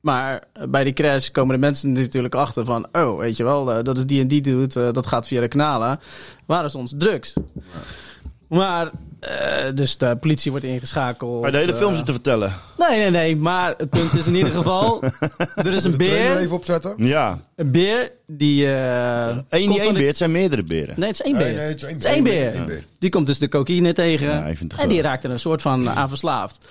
S7: Maar bij die crash komen de mensen er natuurlijk achter van... oh, weet je wel, eh, dat is die en die dude, eh, dat gaat via de kanalen. Waar is ons drugs? Maar, eh, dus de politie wordt ingeschakeld.
S2: Maar de hele
S7: eh,
S2: film zit te vertellen.
S7: Nee, nee, nee. Maar het punt is in ieder geval... er is een
S3: De trailer
S7: beer.
S3: even opzetten.
S2: Ja.
S7: Een beer die... eh,
S2: Eén niet
S7: komt van
S2: één
S7: de-
S2: beer, het zijn meerdere beren.
S7: Nee, het is één beer.
S3: Nee, nee, het is één
S7: Het is één beer.
S3: Eén beer.
S7: Die komt dus de cocaïne tegen.
S2: Ja, ik vind het
S7: en die
S2: wel.
S7: raakt er een soort van aan verslaafd.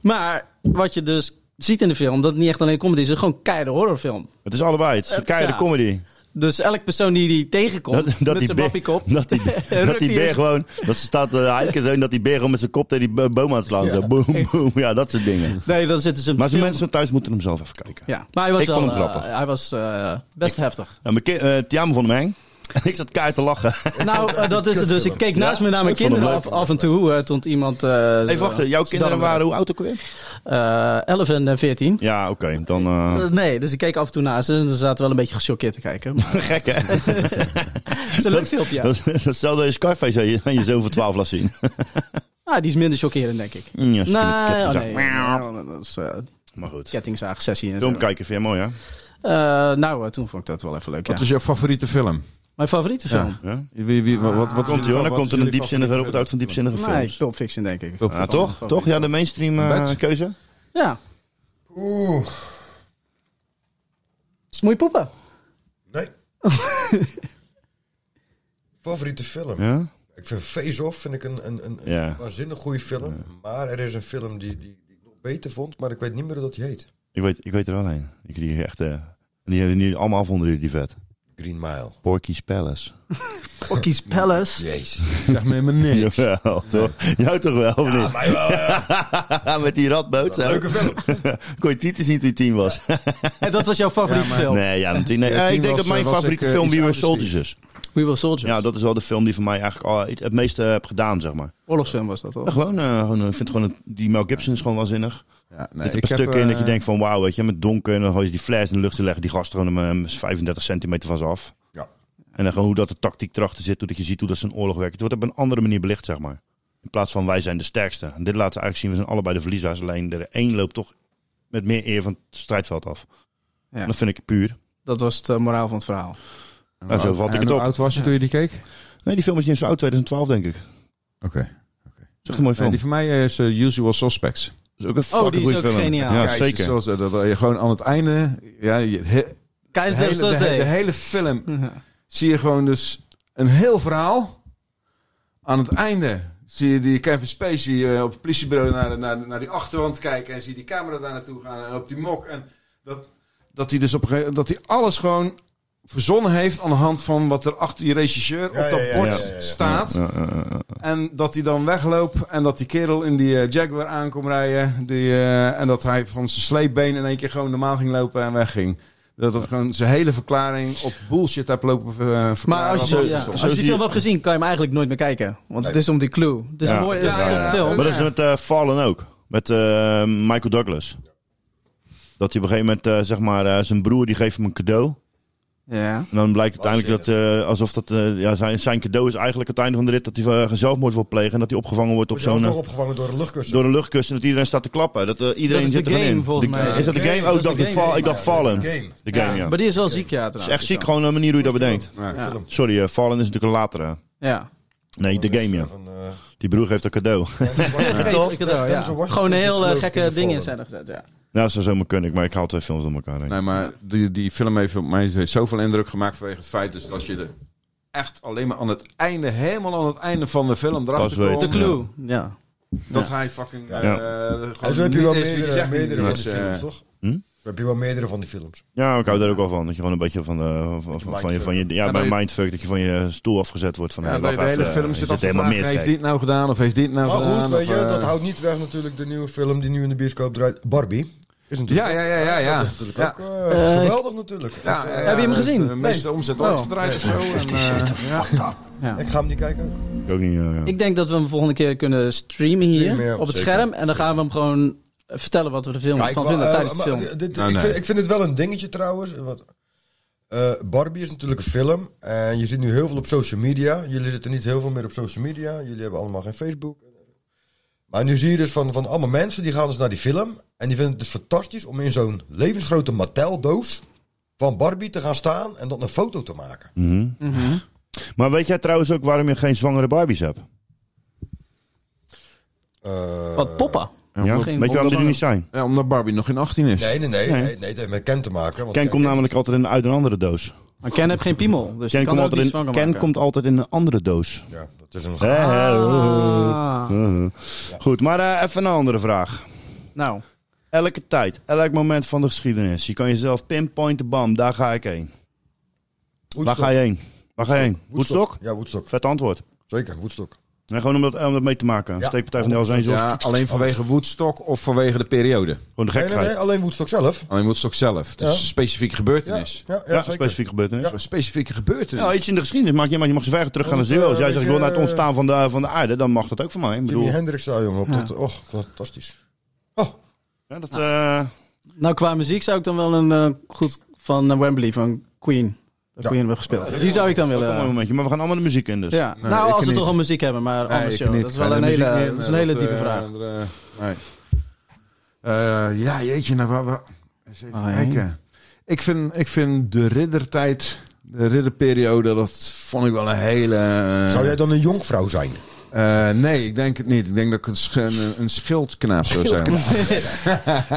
S7: Maar wat je dus ziet in de film... dat het niet echt alleen comedy is. Het is gewoon een keiharde horrorfilm.
S2: Het is allebei. Het is een
S7: Het-
S2: keiharde
S7: ja.
S2: comedy.
S7: Dus elk persoon die die tegenkomt...
S2: Dat, dat,
S7: met
S2: die
S7: zijn
S2: beer,
S7: wappiekop...
S2: dat die, dat
S7: rukt
S2: die
S7: hij
S2: beer
S7: dus-
S2: gewoon... Dat ze staat te hiken zo en dat die beer gewoon met zijn kop tegen die bo- boom aan het slaan. Zo, boom, boom. Ja, dat soort dingen.
S7: Nee, dan zitten ze... in
S2: Maar
S7: de
S2: die
S7: film.
S2: mensen thuis moeten hem zelf even kijken.
S7: Ja, maar hij was
S2: Ik
S7: wel,
S2: vond hem
S7: eh,
S2: grappig.
S7: hij was eh, best heftig.
S2: Ja, mijn ki- eh, Tiamo vond hem eng. ik zat keihard te lachen.
S7: Nou, eh, dat is het dus. Ik keek naast me naar mijn
S2: ik vond hem
S7: kinderen af,
S2: leuk.
S7: af en toe. eh, toen iemand... eh,
S2: Even
S7: zo-
S2: wachten, jouw
S7: zo
S2: kinderen
S7: darmen-
S2: waren hoe oud ook alweer?
S7: eh 11 en eh, 14.
S2: Ja, oké. Dan eh,
S7: Eh, nee, dus ik keek af en toe naast ze. En ze zaten wel een beetje gechoqueerd te kijken. Maar
S2: gek, hè?
S7: het is een leuk filmpje. Eh, ja.
S2: Dat, dat is hetzelfde als je Scarface aan je, aan je zoon van 12 laat zien.
S7: Ah, die is minder chockerend, denk ik.
S2: Mm, ja,
S7: Nee, oh,
S2: zo.
S7: nee. Ja, dat is eh,
S2: Maar goed.
S7: kettingzaagsessie en zo.
S2: Film kijken vind je mooi, hè?
S7: Eh, nou, eh, toen vond ik dat wel even leuk, ja.
S1: Wat is jouw favoriete film?
S7: Mijn favoriete film?
S2: Ja?
S1: Wie, wie, wat, wat, wat
S2: Komt ie hoor, dan
S1: wat
S2: komt
S1: is
S2: er een
S1: jullie
S2: diepzinnige
S1: favoriete
S2: robot uit van diepzinnige
S7: Nee,
S2: films.
S7: Pulp Fiction, denk ik.
S1: film?
S2: Ja, toch? Toch? Ja, de mainstream eh,
S1: Bed?
S2: keuze?
S7: Ja.
S3: Oeh.
S7: Moet je poepen?
S3: Nee. Favoriete film?
S2: Ja?
S3: Ik vind Face Off vind ik een, een, een, een
S2: Ja.
S3: waanzinnig goede film. Maar er is een film die, die, die ik nog beter vond, maar ik weet niet meer hoe dat die heet.
S2: Ik weet, ik weet er wel een. Ik die echt... eh, die hebben nu allemaal af onder die vet.
S3: Green Mile.
S2: Porky's Palace.
S7: Porky's Palace.
S3: Jezus.
S1: Zeg me helemaal niks.
S2: Jawel, toch? Jou toch wel, of niet?
S3: Maar wel, eh,
S2: Met die ratboot. zo.
S3: leuke film.
S2: Kon je titel zien toen je tien was?
S7: En dat was jouw favoriete film?
S2: Nee, ja, natuurlijk. Nee. Eh,
S1: tien
S2: ik denk
S1: was,
S2: dat mijn
S1: eh, was
S2: favoriete
S1: ik, eh,
S2: film
S1: iets
S2: We Were
S1: ouder
S2: Soldiers is.
S7: We Will Soldiers.
S2: Ja, dat is wel de film die voor mij eigenlijk al het het meeste heb gedaan, zeg maar.
S7: Oorlogsfilm was dat, toch?
S2: Ja, gewoon, eh, gewoon, eh, ik vind gewoon, het- die Mel Gibson is gewoon waanzinnig.
S1: Ja,
S2: Er
S1: nee,
S2: zitten
S1: ik
S2: een
S1: heb,
S2: paar stukken in dat je
S1: eh,
S2: denkt van wauw, weet je, met donker en dan gooi je die fles in de lucht te leggen, die gast gewoon hem, eh, 35 centimeter van ze af.
S3: Ja.
S2: En dan gewoon hoe dat de tactiek erachter zit, hoe dat je ziet hoe dat ze een oorlog werkt. Het wordt op een andere manier belicht, zeg maar. In plaats van wij zijn de sterkste. En dit laat eigenlijk zien, we zijn allebei de verliezers. Alleen de één loopt toch met meer eer van het strijdveld af.
S7: Ja.
S2: Dat vind ik puur.
S7: Dat was het eh, moraal van het verhaal.
S2: En "Oh, zo vat ik het
S1: eh, hoe
S2: op.
S1: oud was je toen je die keek?
S2: Nee, die film is niet eens zo oud, 2012 denk ik. Dat
S1: Oké.
S2: is echt een mooie
S1: Nee,
S2: film.
S1: die van mij is eh, Usual Suspects.
S2: Dat Oh, is ook een
S7: die
S2: fucking
S7: is
S2: goede
S7: ook
S2: film.
S7: geniaal.
S2: Ja,
S1: Kijk,
S2: zeker.
S1: Zoals, eh, dat je gewoon aan het einde... Ja, je- he- de,
S7: Kijk,
S1: hele, de, he- de hele film zie je gewoon dus een heel verhaal. Aan het einde zie je die Kevin Spacey eh, op het politiebureau naar, de- naar, de- naar die achterwand kijken. En zie je die camera daar naartoe gaan en op die mok. En dat, dat hij dus op een gegeven moment- dat hij alles gewoon verzonnen heeft aan de hand van wat er achter die regisseur
S3: Ja,
S1: op dat
S3: ja, ja,
S1: bord
S3: ja, ja, ja.
S1: staat.
S2: Ja, ja, ja, ja.
S1: En dat hij dan wegloopt en dat die kerel in die eh, Jaguar aankomt rijden. Die, eh, en dat hij van zijn sleepbeen in één keer gewoon normaal ging lopen en wegging. Dat dat gewoon zijn hele verklaring op bullshit heeft lopen eh, verklaren.
S7: Maar als je,
S1: Wat
S7: ja,
S1: is dat?
S7: als je
S2: zie
S7: die
S2: je-
S7: film hebt gezien, kan je hem eigenlijk nooit meer kijken. Want het is om die clue. Het is
S2: Ja,
S7: een mooie
S2: dat is
S7: het is een
S1: waar,
S7: toffe
S1: ja.
S7: film.
S2: Maar dat is met eh, Fallen ook. Met eh, Michael Douglas. Dat hij op een gegeven moment, eh, zeg maar, eh, zijn broer die geeft hem een cadeau.
S7: Ja.
S2: En dan
S3: Oh,
S2: blijkt uiteindelijk dat, eh, alsof dat, eh, ja, zijn, zijn cadeau is eigenlijk het einde van de rit dat hij eh, zelfmoord wil plegen. En dat hij opgevangen wordt op
S3: Zelfs
S2: zo'n,
S3: nog
S2: eh,
S3: opgevangen door een luchtkussen.
S2: door een luchtkussen. Dat iedereen staat te klappen. Dat, eh, iedereen
S7: is de
S2: zit er gewoon
S7: game,
S2: in.
S7: volgens
S2: De-
S7: mij.
S2: Is dat de game? Oh,
S3: Dat
S2: ik dacht,
S3: is de
S2: de val,
S3: game,
S2: ik dacht
S3: ja.
S2: Fallen.
S3: De game.
S2: De game, ja.
S7: Maar die is wel ziek, ja.
S2: Het
S7: trouwens.
S2: is echt ziek, gewoon een manier hoe je dat bedenkt.
S3: Ja. Film.
S2: Sorry, eh, Fallen is natuurlijk een latere.
S7: Ja.
S2: Nee, de game, ja.
S3: Van, eh,
S2: Die broer geeft een cadeau.
S7: Geef ik het
S3: Denzel
S7: wel, ja.
S3: Washington
S7: Gewoon
S3: zit
S7: heel
S3: geloof
S7: eh,
S3: ik in
S7: gekke
S3: de
S7: dingen
S3: Fallen.
S7: in zijn er gezet, ja.
S2: Nou, zo zomaar kunnen ik, maar ik haal twee films door elkaar heen.
S1: Nee, maar die, die film heeft op mij zoveel indruk gemaakt vanwege het feit dus dat je er echt alleen maar aan het einde, helemaal aan het einde van de film
S2: Pas
S1: erachter
S2: weet.
S1: komt.
S7: De
S2: De
S7: clue. Ja.
S1: Dat hij fucking... eh
S2: Ja.
S1: gewoon
S3: En Oh, zo Dus heb je wel
S1: niet is wie die
S3: meerdere,
S1: zegt
S3: meerdere
S1: hij
S3: van
S1: is,
S3: die
S1: eh,
S3: films, toch?
S2: Hm?
S3: Zo heb je wel meerdere van die films.
S2: Ja, ik hou daar ook wel van. Dat je gewoon een beetje van, de, van, van, van je, van je... Ja,
S1: Ja,
S2: bij
S1: dat je-
S2: mindfuck dat je van je stoel afgezet wordt. Van,
S1: Ja,
S2: hey,
S1: de,
S2: wacht
S1: de hele
S2: even,
S1: film
S2: eh, is
S1: zit
S2: dit
S1: af te vragen,
S2: mis,
S1: heeft
S2: gek?
S1: dit nou gedaan of heeft dit nou
S3: Maar
S1: gedaan?
S3: goed, weet
S1: of,
S3: je,
S1: eh,
S3: dat houdt niet weg natuurlijk de nieuwe film die nu in de bioscoop draait. Barbie.
S1: Ja,
S3: Is natuurlijk
S1: ja, ja, ja. ja.
S3: Dat is natuurlijk
S1: Ja.
S3: ook eh,
S7: Eh,
S3: geweldig natuurlijk. eh,
S1: Ja, ja, ja,
S7: Heb je hem
S1: dat is
S7: gezien?
S1: De meeste omzet
S3: Oh.
S1: ooit gedraaid of zo. En,
S8: 50
S1: eh,
S8: Shades of
S1: ja.
S8: fucked up.
S3: Ik ga hem niet kijken ook.
S2: Ik ook niet, ja, ja.
S7: Ik denk dat we hem volgende keer kunnen streamen hier
S3: Streamen, ja,
S7: op het
S2: zeker.
S7: scherm. En dan gaan we hem gewoon eh, vertellen wat we er film
S3: Kijk,
S7: van
S3: wel,
S7: vinden
S3: eh,
S7: tijdens de
S3: maar
S7: film.
S3: dit- dit-
S1: Nou,
S3: ik,
S1: nee.
S3: vind, ik vind het wel een dingetje trouwens. Wat, eh, Barbie is natuurlijk een film. En je ziet nu heel veel op social media. Jullie zitten niet heel veel meer op social media. Jullie hebben allemaal geen Facebook. Maar nu zie je dus van, van allemaal mensen die gaan dus naar die film. En die vinden het dus fantastisch om in zo'n levensgrote Mattel-doos van Barbie te gaan staan. En dan een foto te maken.
S2: Mhm. Maar weet jij trouwens ook waarom je geen zwangere Barbies hebt?
S3: Eh,
S7: Wat poppen.
S2: Ja?
S7: geen
S2: Weet je waarom die er
S7: zwangere.
S2: niet zijn?
S1: Ja, omdat Barbie nog in 18 is.
S3: Nee, nee, nee.
S2: Nee.
S3: nee. nee, het heeft met Ken te maken. want
S2: Ken komt namelijk altijd in, uit een andere doos.
S7: Maar Ken heeft geen piemel, dus
S2: Ken,
S7: je
S2: komt
S7: kan er ook
S2: altijd,
S7: niet
S2: in,
S7: zwanger
S2: Ken
S7: maken.
S2: komt altijd in een andere doos.
S3: Ja, dat is een...
S2: Hè, hè, eh,
S7: Ah,
S2: eh, eh. Goed, maar eh, even een andere vraag.
S7: nou,
S2: Elke tijd, elk moment van de geschiedenis. Je kan jezelf pinpointen, bam, daar ga ik heen. Waar
S3: Woodstock.
S2: ga je heen? Waar ga je heen?
S3: Woodstock.
S2: Woodstock?
S3: Ja, Woodstock.
S2: Vet antwoord.
S3: Zeker, Woodstock.
S2: Nee, gewoon om dat, om dat mee te maken.
S3: Ja.
S2: Steekpartij van de Hells Angels.
S1: Ja, alleen vanwege Woodstock of vanwege de periode?
S2: Gewoon de
S3: Nee, nee,
S2: gekkigheid.
S3: nee, alleen Woodstock zelf.
S1: Alleen Woodstock zelf. Dus
S3: Ja.
S1: een specifieke
S3: Ja, ja,
S1: gebeurtenis.
S3: ja,
S2: Ja,
S3: zeker.
S2: specifiek gebeurtenis.
S1: Een specifieke gebeurtenis.
S2: Ja, iets in de geschiedenis. Maak je, maar je mag zo ver terug gaan als je
S3: Want,
S2: wil.
S3: eh,
S2: Als jij zegt, ik wil
S3: weet
S2: naar
S3: je,
S2: het ontstaan van de, van de aarde, dan mag dat ook van mij. Ik bedoel,
S3: Jimi Hendrix daar, jongen. Op dat, oh, fantastisch. Oh,
S2: ja, dat, eh,
S7: nou, qua muziek zou ik dan wel een eh, goed van eh, Wembley, van Queen. Dat
S3: Ja.
S7: Queen hebben gespeeld. Die zou
S2: dat
S7: ik dan
S2: is een mooi
S7: willen. eh,
S2: momentje. Maar we gaan allemaal de muziek in dus.
S7: Ja.
S1: Nee,
S7: nou,
S1: ik
S7: als we
S1: niet.
S7: toch al muziek hebben, maar
S1: Nee,
S7: anders
S1: ik
S7: joh.
S1: niet.
S7: Dat is
S1: Ga je
S7: wel een
S1: de muziek
S7: hele,
S1: niet in?
S7: dat is een hele
S1: Dat,
S7: diepe
S1: eh,
S7: vraag.
S1: eh, nee. Eh, ja, jeetje. Nou, waar, waar- eens even
S7: Oh, ja.
S1: kijken. Ik vind, ik vind de riddertijd, de ridderperiode, dat vond ik wel een hele... eh,
S3: zou jij dan een jonkvrouw zijn?
S1: eh, nee, ik denk het niet. Ik denk dat ik een, sch- een, een schildknaap zou zijn.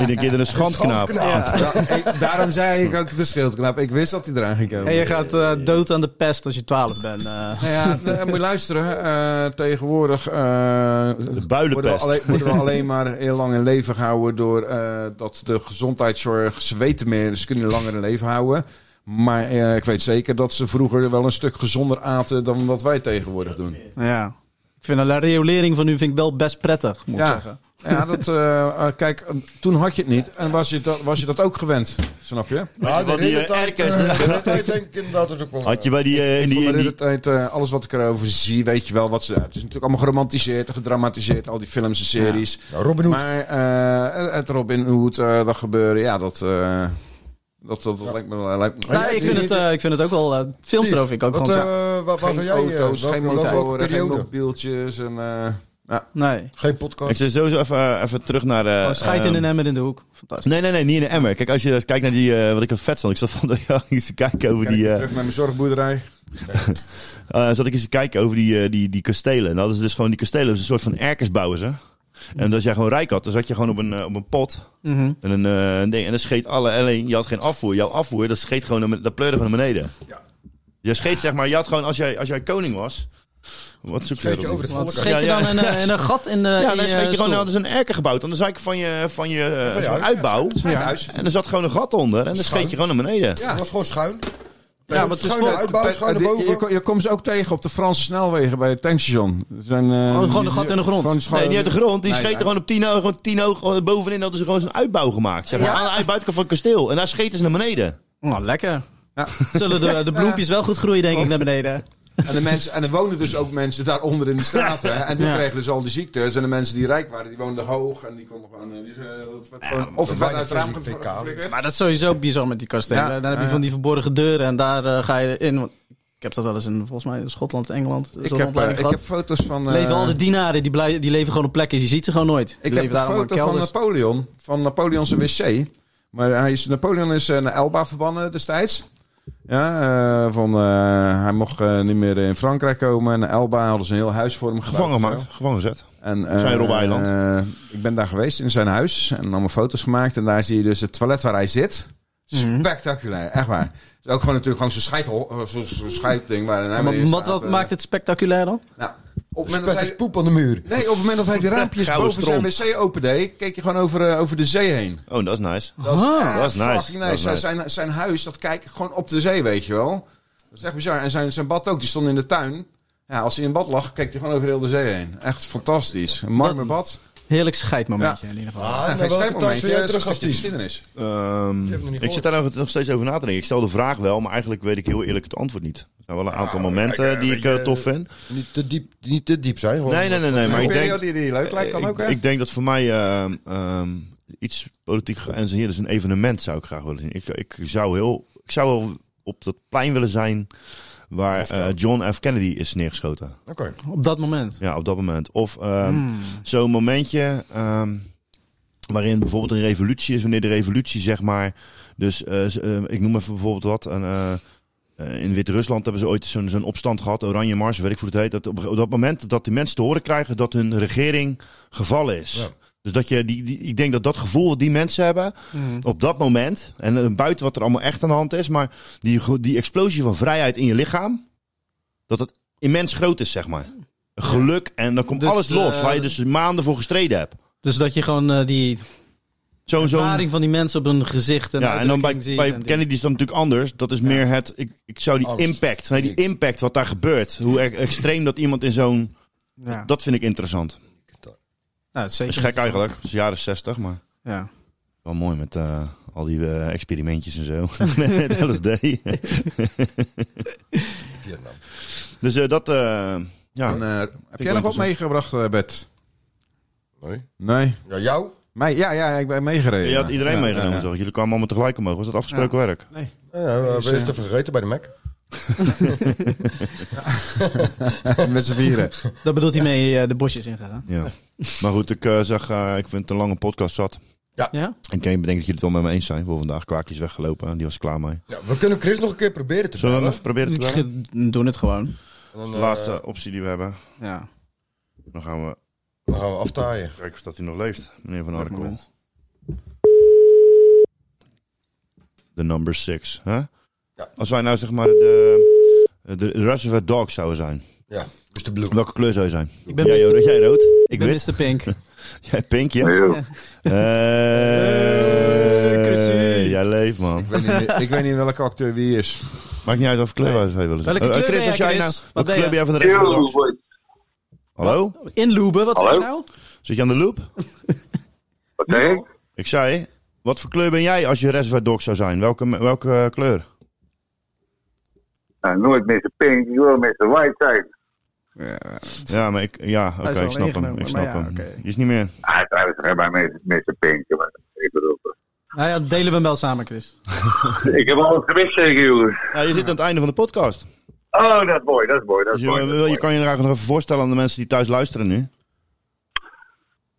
S2: Ik denk eerder een schandknaap.
S3: Schandknaap.
S1: Ja, ik- daarom zei ik ook de schildknaap. Ik wist dat hij eraan ging komen.
S7: En je gaat eh, dood aan de pest als je 12 bent. eh.
S1: Nou ja, nee, moet je luisteren. eh, tegenwoordig eh,
S2: De
S1: worden, we
S2: builenpest.
S1: alleen, worden we alleen maar heel lang in leven gehouden door eh, dat de gezondheidszorg, ze weten meer, ze kunnen je langer in leven houden. Maar eh, ik weet zeker dat ze vroeger wel een stuk gezonder aten dan wat wij tegenwoordig doen.
S7: Ja. Ik vind de riolering van nu vind ik wel best prettig, moet ik
S1: Ja.
S7: zeggen.
S1: Ja, dat, eh, eh, kijk, eh, toen had je het niet en was je dat, was je dat ook gewend, snap je?
S3: Ja,
S2: wat die, eh, erkers-
S3: Dat denk ik inderdaad is ook wel...
S2: Had je bij die, eh, in die,
S1: Voor
S2: in
S1: de
S2: die,
S1: tijd, eh, alles wat ik erover zie, weet je wel wat ze. Het is natuurlijk allemaal geromantiseerd, en gedramatiseerd, al die films en series.
S3: Nou, Robin Hood.
S1: Maar eh, het Robin Hood, eh, dat gebeuren, ja, dat, eh, dat, dat, dat lijkt me... wel- Lijkt me
S7: Nou, ik, vind het, eh, ik vind het ook wel... eh,
S3: Steve,
S7: films erover vind ik ook
S3: wat,
S7: gewoon...
S3: eh, waar, waar zou
S1: geen
S3: jij... eh,
S1: auto's,
S3: welke-
S1: geen
S3: welke
S1: motoren, geen
S3: periode?
S1: mobieltjes en... eh,
S7: Nee.
S3: Geen
S2: Ik
S3: podcast.
S2: zit sowieso even, eh, even terug naar... eh,
S7: Gewoon Oh, scheid in
S2: ehm,
S7: een emmer in de hoek. Fantastisch.
S2: Nee, nee, nee, niet in de emmer. Kijk, als je kijkt naar die, eh, wat ik een vet vond. Ik zat van de eens te kijken over die... eh,
S1: Terug naar mijn zorgboerderij.
S2: eh, zat ik eens te kijken over die, eh, die, die kastelen. En dat is dus gewoon die kastelen. Dat is een soort van erkers bouwen ze. En als jij gewoon rijk had, dan zat je gewoon op een, eh, op een pot.
S7: Mhm.
S2: En een, eh, een ding. En dan scheet alle. Alleen, je had geen afvoer. Jouw afvoer, dat scheet gewoon. naar ben- Dat pleurde gewoon naar beneden.
S1: Ja.
S2: Je scheet zeg maar. Je had gewoon. Als jij, als jij koning was. Wat zoek je
S3: Scheet je
S2: erop?
S3: over het
S7: Want
S3: volk.
S2: schrik-
S7: scheet je
S2: Ja,
S7: dan
S2: ja.
S7: in, een- in een gat in de
S2: Ja,
S7: in
S2: dan scheet je gewoon.
S7: eh, stoel?
S2: Nou, dus een erker gebouwd. Aan de zijkant van je, van je, eh,
S3: Van je
S2: van
S3: huis.
S2: uitbouw.
S1: Ja. Huis.
S2: En er zat gewoon een gat onder. En dan scheet je gewoon naar beneden.
S3: Het was gewoon schuin.
S7: Ja, maar het is
S3: schuin
S7: vol-
S3: naar uitbouw, schuin naar
S1: Je,
S3: boven.
S1: je, je komt ze ook tegen op de Franse snelwegen bij het tankstation. Er Zijn, eh,
S7: Oh, gewoon een
S1: die-
S7: gat in de grond.
S1: gewoon schuin-
S2: Nee, niet uit de grond. Die
S1: Nee,
S2: scheet
S1: ja.
S2: er gewoon op 10 hoog. Gewoon 10 hoog bovenin hadden ze gewoon zo'n uitbouw gemaakt. Zeg maar. Aan de uit- buitenkant van het kasteel. En daar scheten ze naar beneden.
S7: Nou, lekker.
S1: Ja.
S7: Zullen de, de bloempjes wel goed groeien, denk ik, naar beneden.
S1: En, de mensen, en er wonen dus ook mensen daaronder in de straten. hè. En die
S7: Ja.
S1: kregen dus al die ziektes. En de mensen die rijk waren, die woonden hoog. En die konden gewoon... eh, die, eh, dat werd gewoon- of het werd
S3: weinig
S1: uit het raam
S3: fysiek
S1: gefl-
S3: pk.
S1: geflikkerd.
S7: Maar dat is sowieso bizar met die kastelen.
S1: Ja,
S7: dan heb je
S1: ja, ja.
S7: van die verborgen deuren en daar eh, ga je in. Want Ik heb dat wel eens in, volgens mij, in Schotland, Engeland. zo'n
S1: Ik heb, eh,
S7: rondleiding
S1: ik
S7: gehad.
S1: heb foto's van... eh,
S7: leven al de dienaren, die, blij- die leven gewoon op plekken, je ziet ze gewoon nooit. Die
S1: Ik heb
S7: leven
S1: een
S7: daar allemaal
S1: foto van Napoleon, van Napoleon's wc. Maar hij is, Napoleon is eh, naar Elba verbannen destijds. Ja, eh, van, eh, hij mocht eh, niet meer in Frankrijk komen. En Elba hadden ze een heel huis voor hem gebouwd
S2: Gevangen,
S1: en
S2: man.
S1: zo.
S2: Gevangen gezet.
S1: En, eh,
S2: Zijn Robbeiland.
S1: eh, ik ben daar geweest in zijn huis en allemaal foto's gemaakt. En daar zie je dus het toilet waar hij zit.
S7: Mhm.
S1: Spectaculair, echt waar. Het is ook gewoon natuurlijk gewoon zo'n scheidhol- eh, zo'n- zo'n scheidding waar hij mee
S7: Maar
S1: in
S7: wat,
S1: staat,
S7: wat
S1: eh.
S7: maakt het spectaculair dan?
S1: Nou, op het moment dat
S3: Spet
S1: hij
S3: is poep aan de muur.
S1: Nee, op het moment dat hij de raampjes
S2: Gouden
S1: boven zijn wc opende, keek je gewoon over, eh, over de zee heen.
S2: Oh, dat is nice.
S1: Dat is,
S2: dat is nice.
S1: fucking
S2: Dat is nice.
S1: Zijn, zijn huis, dat kijkt gewoon op de zee, weet je wel. Dat is echt bizar. En zijn, zijn bad ook, die stond in de tuin. Ja, als hij in bad lag, keek hij gewoon over heel de zee heen. Echt fantastisch. Een marmer bad.
S7: Heerlijk scheidmomentje in ieder geval.
S3: Ah,
S2: nou,
S1: Ja,
S3: naar welke tijd
S1: schijnmomentje.
S3: wil jij
S1: Het is een
S3: terug als
S1: stukje
S3: dief?
S1: geschiedenis.
S2: Ehm,
S3: hem nog niet
S2: ik zit daar nog- nog steeds over na te denken. Ik stel de vraag wel, maar eigenlijk weet ik heel eerlijk het antwoord niet. Er zijn wel een aantal momenten
S3: kijk, eh,
S2: die
S3: weet
S2: ik eh,
S3: je,
S2: tof vind.
S3: Niet te diep, niet te diep zijn. gewoon.
S2: Nee, nee, nee, nee. Maar
S1: Een
S2: ik denk, Eh,
S1: periode die, die leuk lijkt kan
S2: ik,
S1: ook, hè?
S2: ik denk dat voor mij ehm, ehm, iets politiek geëngineerd is. Een evenement zou ik graag willen zien. Ik, ik zou heel, ik zou wel op dat plein willen zijn waar eh, John F. Kennedy is neergeschoten.
S3: Oké.
S7: Op dat moment.
S2: Ja, op dat moment. Of ehm,
S7: Hmm.
S2: zo'n momentje ehm, waarin bijvoorbeeld een revolutie is, wanneer de revolutie zeg maar, dus eh, z- ehm, ik noem even bijvoorbeeld wat, een, eh, eh, in Wit-Rusland hebben ze ooit zo'n zo'n opstand gehad, Oranje Mars, weet ik hoe het heet, dat op, op dat moment dat die mensen te horen krijgen dat hun regering gevallen is.
S3: Ja.
S2: Dus dat je die, die- ik denk dat dat gevoel wat die mensen hebben
S7: Mhm.
S2: op dat moment, en eh, buiten wat er allemaal echt aan de hand is, maar die, ge- die explosie van vrijheid in je lichaam, dat het immens groot is, zeg maar. Geluk en dan komt
S7: Dus,
S2: alles los,
S7: eh,
S2: waar je dus maanden voor gestreden hebt.
S7: Dus dat je gewoon eh, die
S2: Zo'n zo'n
S7: ervaring van die mensen op hun gezicht en
S2: ja, en dan bij,
S7: uitdrukking ziet
S2: bij
S7: en die-
S2: Kennedy is dat natuurlijk anders. Dat is meer het. Ik, ik zou die
S3: Alles.
S2: impact. Nee, die impact wat daar gebeurt. Hoe er- extreem dat iemand in zo'n.
S7: Ja.
S2: Dat vind ik interessant.
S7: Nou, het is
S2: Dat is
S7: zeker.
S2: gek eigenlijk. Het is jaren zestig, maar.
S7: Ja.
S2: Wel mooi met eh, al die eh, experimentjes en zo. met LSD.
S3: Vietnam.
S2: dus eh, dat. eh, ja.
S1: En, eh, heb jij nog
S2: wel
S1: wat
S2: interessant.
S1: meegebracht, eh, Bert?
S3: Nee.
S1: Nee.
S3: Ja, jou?
S1: Mij, ja, ja, ik ben meegereden.
S2: je had iedereen
S1: Ja,
S2: meegenomen,
S1: ja, ja.
S2: zag ik. Jullie kwamen allemaal tegelijk omhoog. Was dat afgesproken werk?
S3: Ja, ja, we hebben eerst even gegeten bij de Mac.
S1: Met z'n vieren.
S7: Dat bedoelt hij mee eh, de bosjes ingegaan.
S2: Ja. maar goed, ik eh, zeg. eh, ik vind het een lange podcast zat.
S7: Ja?
S2: Ik denk dat jullie het wel met me eens zijn voor vandaag. Kwaakjes weggelopen. Die was er klaar mee.
S3: Ja, we kunnen Chris nog een keer proberen te
S2: Zullen we hem
S3: bellen.
S2: even proberen te bellen?
S7: Ik Doen het gewoon.
S3: En dan,
S2: De
S3: eh,
S2: laatste optie die we hebben.
S7: Ja.
S2: Dan gaan we
S3: dan gaan we aftaaien.
S2: kijken of dat hij nog leeft, meneer Van Arkel.
S7: moment.
S2: De number six. Hè?
S3: Ja.
S2: Als wij nou zeg maar de, de Reservoir Dog zouden zijn.
S3: Ja, dus de blue.
S2: Welke kleur zou je zijn?
S7: Ik ben,
S2: jij,
S7: Mr.
S2: ro- jij rood, ik
S7: ik ben
S2: wit,
S7: Mr. Pink.
S2: jij pink, ja.
S7: Eh,
S2: Hey.
S7: Chrissy.
S2: jij leeft man.
S1: Ik weet, niet, meer- ik weet niet welke acteur wie is.
S2: Maakt niet uit of kleur wij zou willen zijn.
S7: Welke
S2: Eh, eh,
S7: kleur ben
S2: Chris, als
S7: jij,
S2: jij
S7: Chris?
S2: nou,
S7: Wat
S2: welke
S7: ben
S2: kleur
S7: jij?
S2: ben jij van de Reservoir Dogs? Hallo?
S7: Inloeben, wat zei je nou?
S2: Zit je aan de loop?
S9: Wat zeg ik?
S2: Ik zei, wat voor kleur ben jij als je Reservoir Dog zou zijn? Welke, welke eh, kleur?
S9: Nou, nooit Mr. Pink, ik wil Mr. White zijn.
S2: Ja, maar ik, ja, oké,
S7: is al
S2: ik snap hem.
S7: ingenomen,
S2: Ik
S7: maar
S2: snap
S7: ja,
S2: hem.
S7: oké.
S2: Die is niet meer.
S9: Ah, trouwens, hè, bij Mr. Mr. Pink. maar Ik bedoel,
S7: Nou ja, delen we hem wel samen, Chris.
S9: ik heb alles gemist, zeker, jongens.
S2: Ja, je zit aan het einde van de podcast.
S9: Oh, dat is mooi, dat is mooi, dat is
S2: Dus je,
S9: mooi.
S2: wil, je kan je er eigenlijk nog even voorstellen aan de mensen die thuis luisteren nu.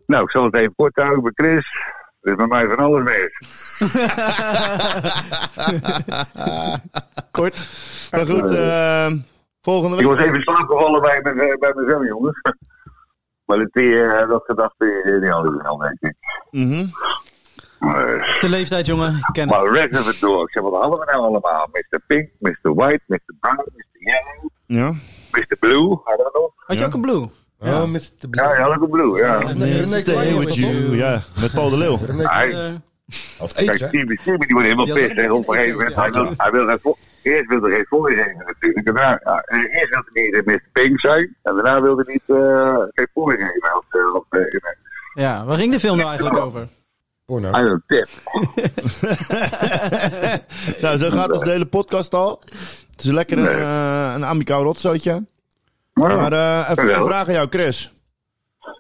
S10: Nou, ik zal het even kort houden bij Chris. Er is bij mij van alles mis.
S2: Kort. Maar goed, eh, volgende week.
S10: Ik was even slaapgevallen bij, mijn- eh, bij mezelf, jongens. Maar dat, die, eh, dat gedachte, eh, die hadden we wel, denk ik.
S7: Mhm.
S10: Maar,
S7: is de leeftijd, jongen. Ik ken
S10: maar
S7: het.
S10: recht even door. Ik zeg, wat hadden we nou allemaal? Mr. Pink, Mr. White, Mr. Brown, Mr. Yellow,
S2: Ja.
S10: Mr. Blue. Hadden we nog?
S7: Had je ook een blue?
S3: Ja, met de
S10: Ja, ja, dat is een Blue, ja.
S2: Stay with you. Ja, met Paul de Leeuw.
S10: Hij-
S7: Eh,
S10: Kijk, Timmy, Timmy die wordt helemaal
S2: Die had
S10: pissed. hè. Op een gegeven moment, hij wil, hij wil geen vo- eerst wil er geen voorlichting natuurlijk. Daarna, ja, eh, eerst wil hij niet Mr. Pink zijn. En daarna wil hij niet eh, geen voorlichting geven. Want, eh, want, eh,
S7: Ja, waar ging de film nou eigenlijk over?
S10: Hij wil tip.
S2: Nou, zo gaat dus de hele podcast al. Het is lekker een,
S10: Nee. Ah,
S2: eh een Amico rotzootje.
S10: Ja.
S2: Maar eh, even
S10: Jawel.
S2: een vraag aan jou, Chris.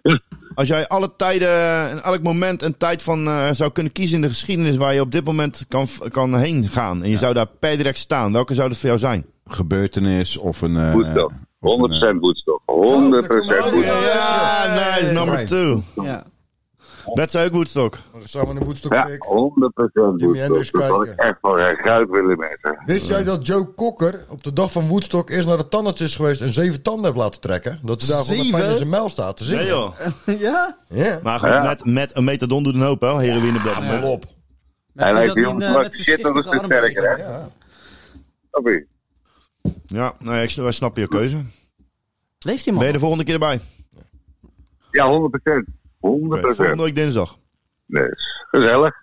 S10: Hm.
S2: Als jij alle tijden, en elk moment en tijd van eh, zou kunnen kiezen in de geschiedenis waar je op dit moment kan, kan heen gaan. En je zou daar per direct staan. Welke zou dat voor jou zijn?
S1: Gebeurtenis of een... eh,
S10: Woodstock. 100% Woodstock. 100% Woodstock.
S2: Ja, nice, number
S1: Right.
S2: two.
S7: Ja.
S2: Wet zou ook Woodstock.
S3: Samen een Woodstock
S10: Ja, 100%
S3: pick.
S10: Woodstock.
S3: Hendricks
S10: Dat had ik
S3: kijken.
S10: echt wel echt goud willen meten.
S3: Wist jij dat Joe Cocker op de dag van Woodstock eerst naar de tandarts is geweest en zeven tanden heeft laten trekken? Dat hij daarvoor met
S7: Zeven?
S3: pijn in zijn muil staat te zingen.
S2: Nee joh.
S7: ja?
S3: Ja.
S2: Maar goed,
S10: Ja.
S2: met, met een methadon doet een hoop hè, heroïne
S3: Vol
S2: blijven.
S3: op.
S10: Hij
S7: die
S10: lijkt
S7: dat
S10: die
S7: in,
S10: jongen
S7: eh,
S10: wat
S7: met zijn
S10: shit nog een stuk
S7: schichtige
S10: sterker, hè?
S3: Ja.
S10: Snap je?
S2: Ja, nou, ja, ik, wij snappen je keuze.
S7: Leeft die man?
S2: Ben je de volgende keer erbij?
S10: Ja, 100%. 100%.
S2: Oké, volgende week dinsdag.
S10: Dus, gezellig.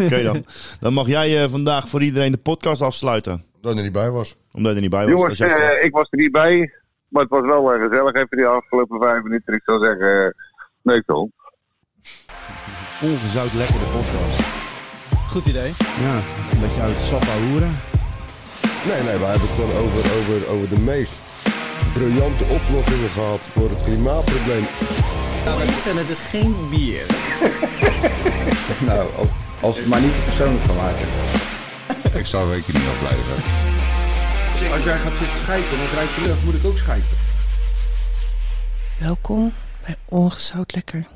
S2: Oké dan. Dan mag jij eh, vandaag voor iedereen de podcast afsluiten.
S3: Dat hij er niet bij was.
S2: Omdat je er niet bij was.
S10: Jongens,
S2: Dat is echt
S10: eh,
S2: wel-
S10: ik was er niet bij. Maar het was wel eh, gezellig even die afgelopen vijf minuten. Ik zou zeggen, eh, nee toch?
S2: ongezout lekkere podcast.
S7: Goed idee.
S2: Ja, een beetje uit het sap ouwe hoeren.
S3: Nee, nee, we hebben het gewoon over, over, over de meest briljante oplossingen gehad voor het klimaatprobleem.
S5: En Nou, het is geen bier.
S4: Nou, als- als het maar niet persoonlijk van maken.
S11: Ik zou weken niet afblijven.
S1: Als jij gaat zitten schijten en het ruikt je lucht, moet ik ook schijten.
S5: Welkom bij Ongezout Lekker.